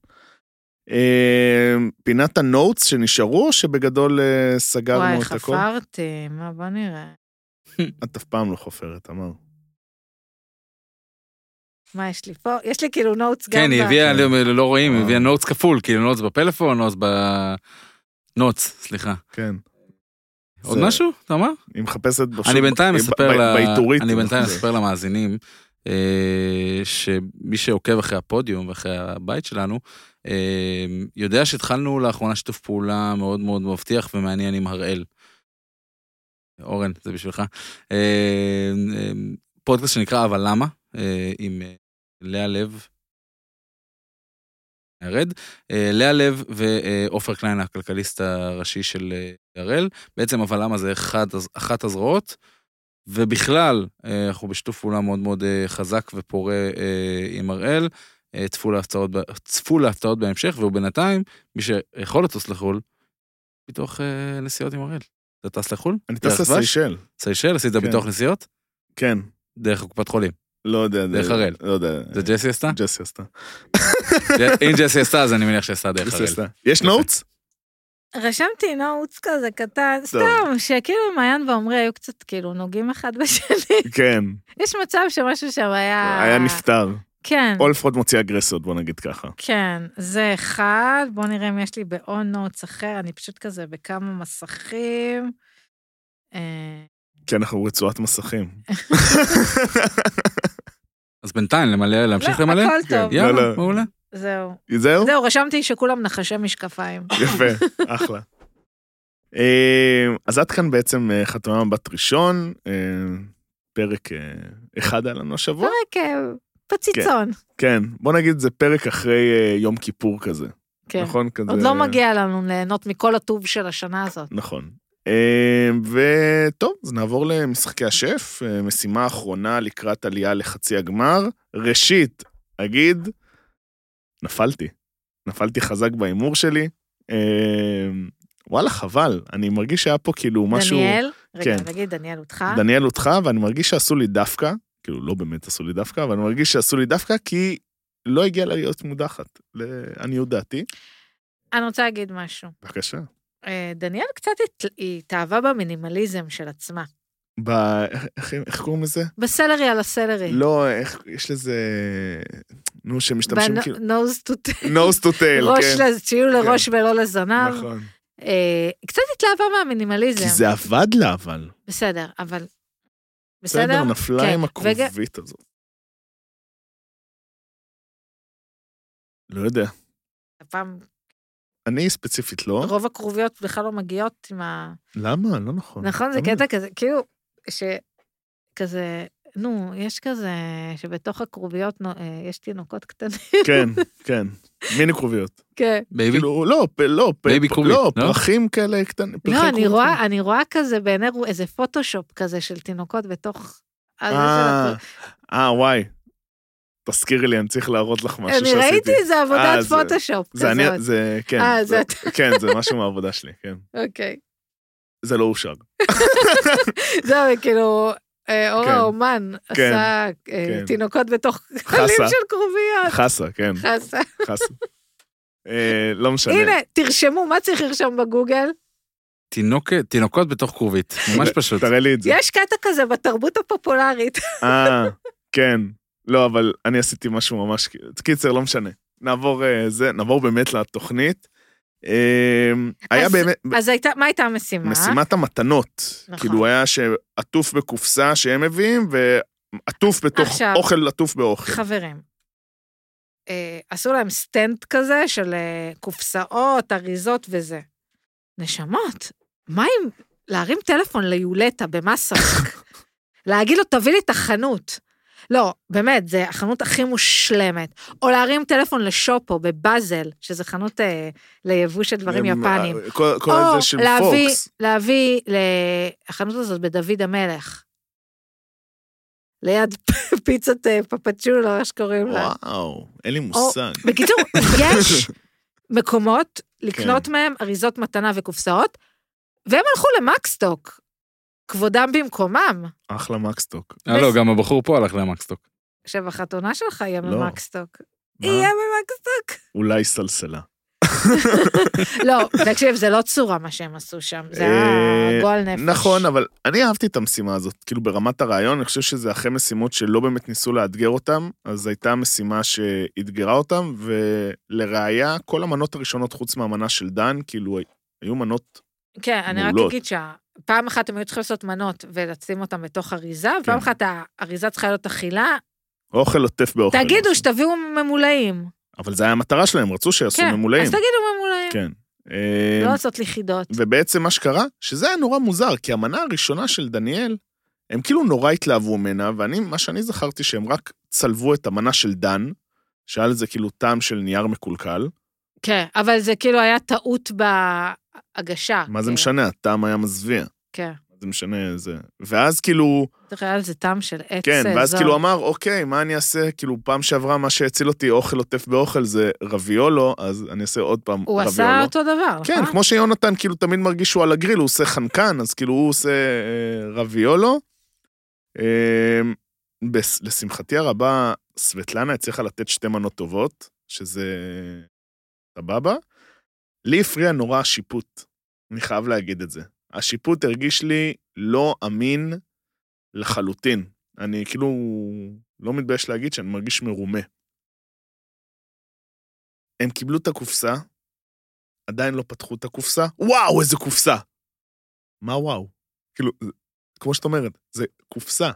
S1: אה, פינת הנוטס שנשארו, או שבגדול אה,
S2: וואי,
S1: סגרנו את הכל?
S2: חפרתי, מה, בוא נראה.
S1: את אף פעם לא חופרת, אמר.
S2: מה יש לי פה? יש לי כאילו נוטס גם
S3: כן, היא
S2: ב-
S3: הביאה,
S1: כן.
S3: לא- לא רואים, היא
S1: אה.
S3: הביאה נוטס כפול, כאילו נוטס בפלאפון, נוטס ב... נוטס, סליחה.
S1: כן.
S3: עוד
S1: זה-
S3: משהו? אתה אמר?
S1: היא מחפשת... פשוט
S3: אני בינתיים
S1: ב-
S3: אספר
S1: ב-
S3: ל-
S1: בעיטורית.
S3: אני בינתיים
S1: זה-
S3: אספר למאזינים אה, שמי שעוקב אחרי הפודיום ואחרי הבית שלנו, אה, יודע שהתחלנו לאחרונה שיתוף פעולה מאוד מאוד מבטיח ומעניין עם הראל. אורן, זה בשבילך. אה, אה, פודקאסט שנקרא אבל למה, אה, עם אה, לאה לב. הרד, אה, לאה לב ועופר קליין, הכלכליסט הראשי של אה, הראל. בעצם אבל למה זה אחד, אחת הזרועות, ובכלל, אה, אנחנו בשיתוף פעולה מאוד מאוד אה, חזק ופורה אה, עם הראל. אה, צפו להפתעות, ב- צפו להפתעות בהמשך, ובינתיים, מי שיכול לטוס לחו"ל, ביטוח אה, נסיעות עם הראל. אתה טס לחו"ל?
S1: אני טס
S3: דרך דבש?
S1: לסיישל.
S3: סיישל, עשית
S1: כן.
S3: ביטוח נסיעות?
S1: כן.
S3: דרך הקופת חולים.
S1: לא יודע.
S3: דרך
S1: זה-
S3: הראל.
S1: לא יודע.
S3: זה ג'סי עשתה?
S1: ג'סי עשתה.
S3: אם ג'סי עשתה, אז אני מניח שעשתה דרך
S1: ג'סי
S3: הראל.
S1: עשתה. יש
S3: יפה.
S1: נוטס?
S2: רשמתי נוטס כזה קטן, סתם, שכאילו מעיין ועמרי היו קצת כאילו נוגעים אחד בשני. [LAUGHS]
S1: כן.
S2: יש מצב שמשהו שם היה...
S1: היה נפטר.
S2: כן,
S1: או לפחות מוציא אגרסיות, בוא נגיד ככה.
S2: כן, זה אחד. בוא נראה אם יש לי בעוד נוטס אחר, אני פשוט כזה בכמה מסכים. אה,
S1: כי אנחנו רצועת
S2: [LAUGHS]
S1: מסכים.
S3: אז בינתיים, למלא, להמשיך
S2: לא,
S3: למלא?
S2: הכל
S1: כן.
S2: טוב,
S1: לא,
S3: יאללה,
S1: לא.
S3: מעולה.
S2: זהו.
S1: זהו?
S2: זהו, רשמתי שכולם נחשי משקפיים.
S1: יפה, אחלה. אה, אז עד כאן בעצם אה, חתונה מבט ראשון, אה, פרק אה, אחד היה לנו השבוע.
S2: פרק אה, פציצון.
S1: כן, בוא נגיד זה פרק אחרי אה, יום כיפור כזה,
S2: כן.
S1: נכון? כזה...
S2: עוד לא מגיע לנו ליהנות מכל הטוב של השנה הזאת.
S1: נכון. אה, וטוב, אז נעבור למשחקי השף, אה, משימה אחרונה לקראת עלייה לחצי הגמר. ראשית, אגיד, נפלתי. נפלתי חזק בהימור שלי. אה, וואלה, חבל, אני מרגיש שהיה פה כאילו משהו...
S2: דניאל, אה? רגע,
S1: כן.
S2: נגיד דניאל אותך.
S1: דניאל אותך, ואני מרגיש שעשו לי דווקא, כאילו לא באמת עשו לי דווקא, אבל אני מרגיש שעשו לי דווקא כי לא הגיע לה להיות מודחת, לעניות דעתי.
S2: אני רוצה להגיד משהו.
S1: בבקשה.
S2: אה, דניאל קצת הת- היא התאהבה במינימליזם של עצמה.
S1: ב... איך, איך, איך קוראים לזה?
S2: אוקיי. בסלרי על הסלרי.
S1: לא, איך, יש לזה... נו, שמשתמשים כאילו...
S2: בנוז טו טייל.
S1: nose to tail,
S2: [LAUGHS] ראש,
S1: כן.
S2: לז- שיהיו לראש ולא לזנב.
S1: נכון.
S2: אה, קצת התלהבה
S1: כי
S2: מהמינימליזם.
S1: זה עבד לה, אבל.
S2: בסדר, אבל... בסדר?
S1: בסדר, נכון. נפלה
S2: כן.
S1: עם
S2: וג-
S1: הכרובית הזאת. לא יודע.
S2: הפעם
S1: אני ספציפית לא.
S2: רוב הכרוביות בכלל לא מגיעות עם ה...
S1: למה? לא נכון.
S2: נכון, זה
S1: למה?
S2: קטע כזה, כאילו, שכזה, נו, יש כזה, שבתוך הכרוביות נו- אה, יש תינוקות קטנים. [LAUGHS]
S1: כן, כן. מיני [LAUGHS] כרוביות.
S2: כן.
S3: בייבי,
S1: כאילו, לא, פ- לא, פ-
S3: בייבי
S1: פ-
S3: כרובית,
S1: לא,
S3: לא?
S1: פרחים כאלה קטנים. פרחי
S2: לא, אני
S1: כרובית.
S2: רואה, אני רואה כזה בעיני רוא- איזה פוטושופ כזה של תינוקות בתוך... הזה של
S1: אה,
S2: הכר-
S1: אה, וואי. תזכירי לי, אני צריך להראות לך משהו
S2: אני
S1: שעשיתי.
S2: ראיתי איזה
S1: אה,
S2: עבודת
S1: זה-
S2: פוטושופ
S1: זה אני,
S2: כזאת.
S1: זה, כן.
S2: אה, זה
S1: כן, זה משהו מהעבודה שלי, כן.
S2: אוקיי.
S1: זה לא אושר.
S2: זהו, כאילו, אה, אור
S1: כן.
S2: האומן עשה אה,
S1: כן.
S2: תינוקות בתוך [LAUGHS] חלים של
S1: [LAUGHS]
S2: כרוביות.
S1: חסה, כן,
S2: חסה.
S1: חסה. אה, לא משנה.
S2: הנה, תרשמו, מה צריך לרשום בגוגל?
S3: תינוקת- תינוקות בתוך כרובית, ממש פשוט.
S1: תראה לי את זה.
S2: יש קטע כזה בתרבות הפופולרית.
S1: אה, כן. לא, אבל אני עשיתי משהו ממש... קיצר, לא משנה. נעבור אה, זה, נעבור באמת לתוכנית. אה, היה
S2: אז-
S1: באמת...
S2: אז הייתה, מה הייתה המשימה?
S1: משימת המתנות.
S2: נכון.
S1: כאילו היה שעטוף בקופסה שהם מביאים, ועטוף בתוך
S2: עכשיו-
S1: אוכל עטוף באוכל.
S2: חברים, אה, עשו להם סטנד כזה של אה, קופסאות, אריזות וזה. נשמות, מה אם להרים טלפון ליולטה
S1: [LAUGHS]
S2: במסרק? להגיד לו, תביא לי את החנות. לא, באמת, זה החנות הכי מושלמת. או להרים טלפון לשופו בבאזל, שזה חנות אה, ליבוא של דברים
S1: הם,
S2: יפניים.
S1: אה, כל כל
S2: או
S1: זה של
S2: להביא,
S1: פוקס.
S2: להביא לחנות הזאת בדוד המלך. ליד [LAUGHS] פיצת אה, פפצ'ולו, איך שקוראים לה.
S1: וואו, אין לי מושג. [LAUGHS]
S2: בקיצור, יש מקומות
S1: כן.
S2: לקנות מהם אריזות מתנה וקופסאות, והם הלכו למקסטוק. כבודם במקומם.
S1: אחלה מקסטוק.
S3: אה, לא, גם הבחור פה הלך למקסטוק.
S2: עכשיו, החתונה שלך יהיה
S1: לא.
S2: ממקסטוק.
S1: מה?
S2: יהיה ממקסטוק.
S1: אולי סלסלה.
S2: לא, תקשיב, זה לא צורה מה שהם עשו שם, זה
S1: אה,
S2: היה גועל נפש.
S1: נכון, אבל אני אהבתי את המשימה הזאת. כאילו, ברמת הרעיון, אני חושב שזה אחרי משימות שלא באמת ניסו לאתגר אותם, אז הייתה משימה שאתגרה אותם, ולראיה, כל המנות הראשונות, חוץ מהמנה של דן, כאילו, היו מנות...
S2: כן, אני רק
S1: מעולות.
S2: אגיד שפעם אחת הם היו צריכים לעשות מנות ולשים אותן בתוך אריזה,
S1: כן.
S2: ופעם אחת האריזה צריכה להיות אכילה.
S1: אוכל עוטף באוכל.
S2: תגידו שתביאו ממולאים.
S1: אבל זו הייתה המטרה שלהם, רצו שיעשו
S2: כן,
S1: ממולאים.
S2: אז תגידו ממולאים.
S1: כן. אה,
S2: לא לעשות לי חידות.
S1: ובעצם מה שקרה, שזה היה נורא מוזר, כי המנה הראשונה של דניאל, הם כאילו נורא התלהבו ממנה, ואני, מה שאני זכרתי שהם רק צלבו את המנה של דן, שהיה לזה כאילו טעם של נייר מקולקל.
S2: כן, אבל זה כאילו היה טעות בהגשה.
S1: מה זה
S2: כן,
S1: משנה? הטעם היה מזוויע.
S2: כן.
S1: מה זה משנה? זה... ואז כאילו,
S2: צריך היה לזה טעם של עץ.
S1: כן,
S2: אה,
S1: ואז
S2: זול.
S1: כאילו אמר, אוקיי, מה אני אעשה? כאילו, פעם שעברה מה שהציל אותי אוכל עוטף באוכל זה רביולו, אז אני אעשה עוד פעם
S2: הוא
S1: רביולו.
S2: עשה אותו דבר, נכון?
S1: כן, כמו שיונתן כאילו תמיד מרגיש שהוא על הגריל, הוא עושה חנקן, אז כאילו הוא עושה אה, רביולו. אה, בס- לשמחתי הרבה, סבטלנה הצליחה לתת שתי מנות טובות, שזה סבבה. לי הפריע נורא השיפוט, אני חייב להגיד את זה. השיפוט הרגיש לי לא אמין לחלוטין. אני כאילו לא מתבייש להגיד שאני מרגיש מרומה. הם קיבלו את הקופסה, עדיין לא פתחו את הקופסה, וואו, איזה קופסה! מה וואו? כאילו, זה- כמו שאת אומרת, זה קופסה.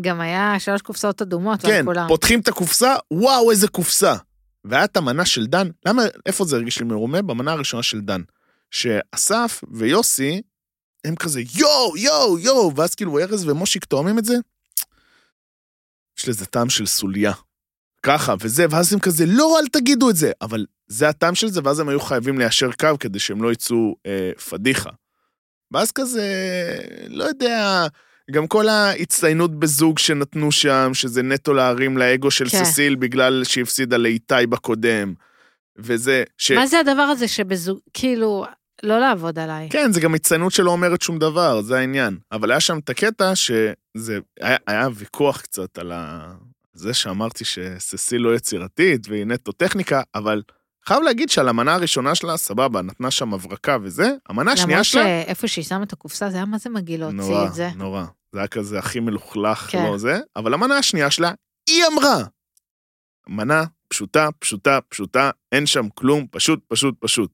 S2: גם היה שלוש קופסאות אדומות על
S1: כן,
S2: כולם.
S1: פותחים את הקופסה, וואו, איזה קופסה. והיה את המנה של דן, למה, איפה זה הרגיש לי מרומה? במנה הראשונה של דן. שאסף ויוסי, הם כזה יואו, יואו, יואו, ואז כאילו ארז ומושיק תואמים את זה, יש לזה טעם של סוליה. ככה, וזה, ואז הם כזה, לא, אל תגידו את זה. אבל זה הטעם של זה, ואז הם היו חייבים ליישר קו כדי שהם לא יצאו אה, פדיחה. ואז כזה, לא יודע, גם כל ההצטיינות בזוג שנתנו שם, שזה נטו להרים לאגו של
S2: כן.
S1: ססיל בגלל שהיא הפסידה לאיתי בקודם. וזה, ש...
S2: מה זה הדבר הזה שבזוג, כאילו, לא לעבוד עליי.
S1: כן, זה גם הצטיינות שלא אומרת שום דבר, זה העניין. אבל היה שם את הקטע שזה, היה, היה ויכוח קצת על ה... זה שאמרתי שססיל לא יצירתית והיא נטו טכניקה, אבל חייב להגיד שעל המנה הראשונה שלה, סבבה, נתנה שם הברקה וזה, המנה השנייה
S2: למרות
S1: שלה...
S2: שאיפה שהיא שמה את הקופסה, זה היה מה זה מגעיל להוציא
S1: נורא,
S2: את זה.
S1: נורא. זה היה כזה הכי מלוכלך,
S2: כן.
S1: לא זה, אבל המנה השנייה שלה, היא אמרה. מנה פשוטה, פשוטה, פשוטה, אין שם כלום, פשוט, פשוט, פשוט.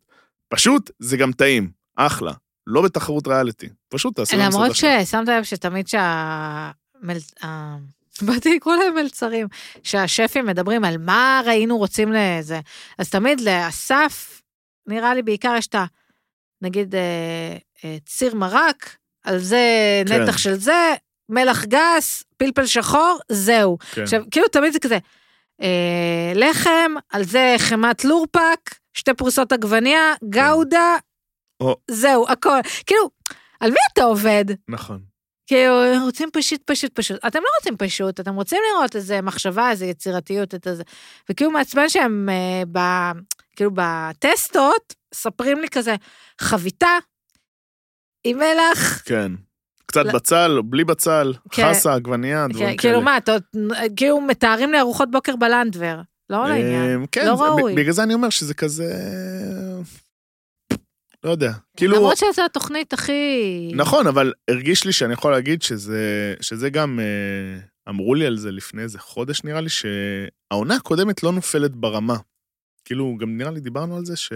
S1: פשוט זה גם טעים, אחלה. לא בתחרות ריאליטי, פשוט תעשו
S2: למרות
S1: במסעדה שלכם.
S2: ששמת לב שתמיד שה... מל- ה- [LAUGHS] באתי לקרוא להם מלצרים, שהשפים מדברים על מה היינו רוצים לזה. אז תמיד לאסף, נראה לי בעיקר יש את ה... נגיד אה, אה, ציר מרק, על זה
S1: כן.
S2: נתח של זה, מלח גס, פלפל שחור, זהו.
S1: כן.
S2: עכשיו, כאילו תמיד זה כזה, אה, לחם, על זה חמת לורפק, שתי פרוסות עגבניה, גאודה,
S1: או.
S2: זהו, הכל. כאילו, על מי אתה עובד?
S1: נכון.
S2: כאילו, רוצים פשוט, פשוט, פשוט. אתם לא רוצים פשוט, אתם רוצים לראות איזה מחשבה, איזה יצירתיות, את איזה... וכאילו מעצבן שהם אה, ב... כאילו בטסטות, מספרים לי כזה, חביתה, עם מלח,
S1: כן. קצת
S2: לא-
S1: בצל, בלי בצל,
S2: כן.
S1: חסה, עגבנייה, דברים כאלה.
S2: כאילו מה, אתה- כאילו מתארים לי ארוחות בוקר בלנדבר, לא לעניין.
S1: אמ, כן,
S2: לא
S1: זה-
S2: ראוי.
S1: בגלל זה אני אומר שזה כזה... לא יודע. כאילו,
S2: למרות שזו התוכנית הכי...
S1: נכון, אבל הרגיש לי שאני יכול להגיד שזה, שזה גם, אה, אמרו לי על זה לפני איזה חודש, נראה לי, שהעונה הקודמת לא נופלת ברמה. כאילו, גם נראה לי דיברנו על זה ש...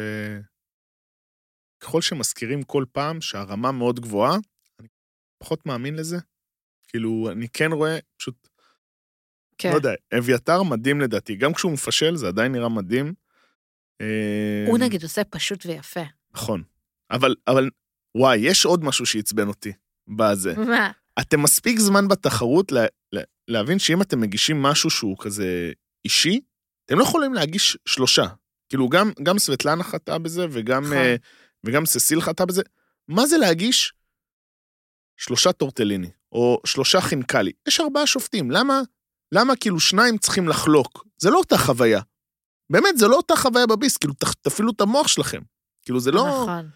S1: ככל שמזכירים כל פעם שהרמה מאוד גבוהה, אני פחות מאמין לזה. כאילו, אני כן רואה, פשוט
S2: כן.
S1: לא יודע, אביתר מדהים לדעתי, גם כשהוא מפשל זה עדיין נראה מדהים. אה,
S2: הוא נגיד עושה פשוט ויפה.
S1: נכון. אבל, אבל, וואי, יש עוד משהו שעצבן אותי בזה.
S2: מה?
S1: אתם מספיק זמן בתחרות לה, לה, להבין שאם אתם מגישים משהו שהוא כזה אישי, אתם לא יכולים להגיש שלושה. כאילו, גם, גם סבטלנה חטאה בזה, וגם,
S2: נכון.
S1: אה, וגם ססיל חטאה בזה. מה זה להגיש שלושה טורטליני, או שלושה חינקלי? יש ארבעה שופטים, למה, למה כאילו שניים צריכים לחלוק? זה לא אותה חוויה. באמת, זה לא אותה חוויה בביס, כאילו, ת, תפעילו את המוח שלכם. כאילו, זה לא... נכון.
S2: נכון.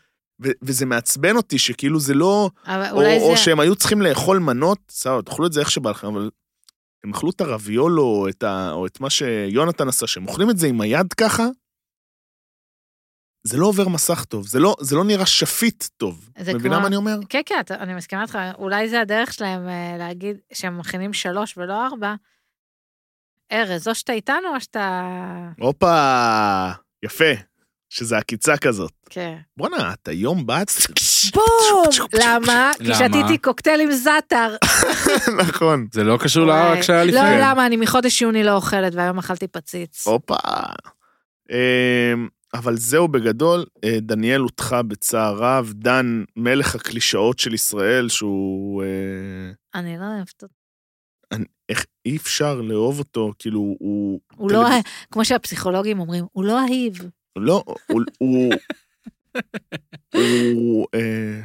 S1: ו, וזה מעצבן אותי, שכאילו זה לא...
S2: אבל
S1: או,
S2: אולי
S1: או
S2: זה...
S1: שהם היו צריכים לאכול מנות, סבבה, תאכלו את זה איך שבא לכם, אבל הם אכלו את הרביולו, או את, ה, או את מה שיונתן עשה, שהם אוכלים את זה עם היד ככה, זה לא עובר מסך טוב, זה לא, זה לא נראה שפיט טוב.
S2: זה
S1: מבינה
S2: כמו-
S1: מה אני אומר?
S2: כן, כן, אתה- אני מסכימה איתך, אולי זה הדרך שלהם אה, להגיד שהם מכינים שלוש ולא ארבע. ארז, או שאתה איתנו או שאתה...
S1: הופה, יפה, שזה עקיצה כזאת.
S2: כן.
S1: בואנה, את היום באת? [LAUGHS]
S2: בום! למה? כי
S3: למה?
S2: שתיתי קוקטייל עם זאטר.
S1: נכון.
S3: זה [LAUGHS] לא קשור
S2: וואי.
S3: לערק שהיה לפני.
S2: לא, למה? אני מחודש יוני לא אוכלת והיום אכלתי פציץ.
S1: הופה. אמ, אבל זהו בגדול, אה, דניאל הוטחה בצער רב, דן מלך הקלישאות של ישראל, שהוא... אה,
S2: אני לא אוהבת אותו.
S1: איך אי אפשר לאהוב אותו, כאילו, הוא...
S2: הוא לא...
S1: טלוויז-
S2: ה- כמו שהפסיכולוגים אומרים, הוא לא אהיב.
S1: לא, הוא... הוא... הוא... אה,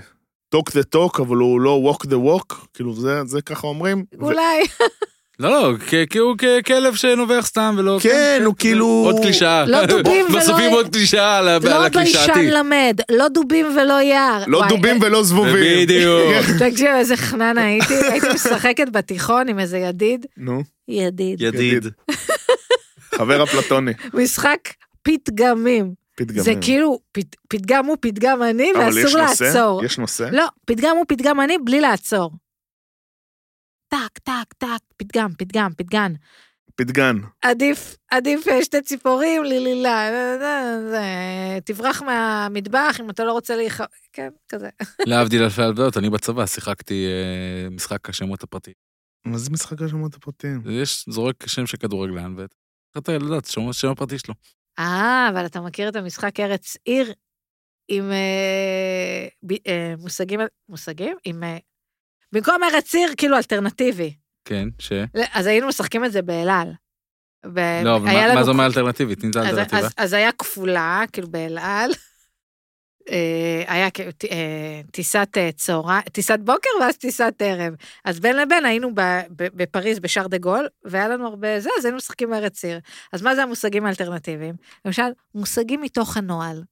S1: talk the talk, אבל הוא לא walk the walk, כאילו, זה, זה ככה אומרים. ו-
S2: אולי.
S3: לא, לא, כ- כי הוא ככלב שנובח סתם ולא...
S1: כן, הוא כאילו...
S3: עוד קלישאה.
S2: לא דובים ולא-
S3: מוסיפים עוד קלישאה על ה- על
S2: לא ביישן
S3: הקלישאתי.
S2: למד, לא דובים ולא יער.
S1: לא
S2: וואי, אה,
S1: דובים ולא זבובים. כן.
S3: בדיוק.
S2: תקשיב, איזה חננה הייתי, הייתי משחקת בתיכון עם איזה ידיד,
S1: נו,
S2: ידיד.
S3: ידיד.
S1: חבר אפלטוני,
S2: משחק פתגמים.
S1: פתגמים.
S2: זה כאילו, פת- פתגם הוא פתגם אני,
S1: אבל יש
S2: ואסור
S1: נושא?
S2: לעצור.
S1: יש נושא?
S2: לא, פתגם הוא פתגם אני בלי לעצור. טק, טק, טק, פתגם, פתגם, פתגן.
S1: פתגן.
S2: עדיף, עדיף אה, שתי ציפורים, לילילה, אה, אה, אה, תברח מהמטבח אם אתה לא רוצה להיח... כן, כזה.
S3: להבדיל אלפי אלפיות, אני בצבא שיחקתי אה, משחק השמות הפרטי.
S1: מה זה משחק השמות הפרטיים?
S3: יש זורק שם של כדורגלן, ואתה לדעת, שם השם הפרטי שלו.
S2: אה, אבל אתה מכיר את המשחק ארץ עיר עם אה, ב- אה, מושגים, מושגים? עם... אה, במקום ארץ עיר, כאילו אלטרנטיבי.
S3: כן, ש...
S2: לא, אז היינו משחקים את זה באלעל. ו-
S3: לא, אבל
S2: אה, היה
S3: מה- מה
S2: לנו-
S3: זה אומר אלטרנטיבית? תני את
S2: אז-
S3: האלטרנטיבה.
S2: אז- אז היה כפולה, כאילו באלעל. אה, היה כ- ט- אה, טיסת אה, צהריים, טיסת בוקר ואז טיסת ערב. אז בין לבין היינו ב- ב- בפריז בשאר דה גול, והיה לנו הרבה זה, אז היינו משחקים בארץ עיר. אז מה זה המושגים האלטרנטיביים? למשל, מושגים מתוך הנוהל.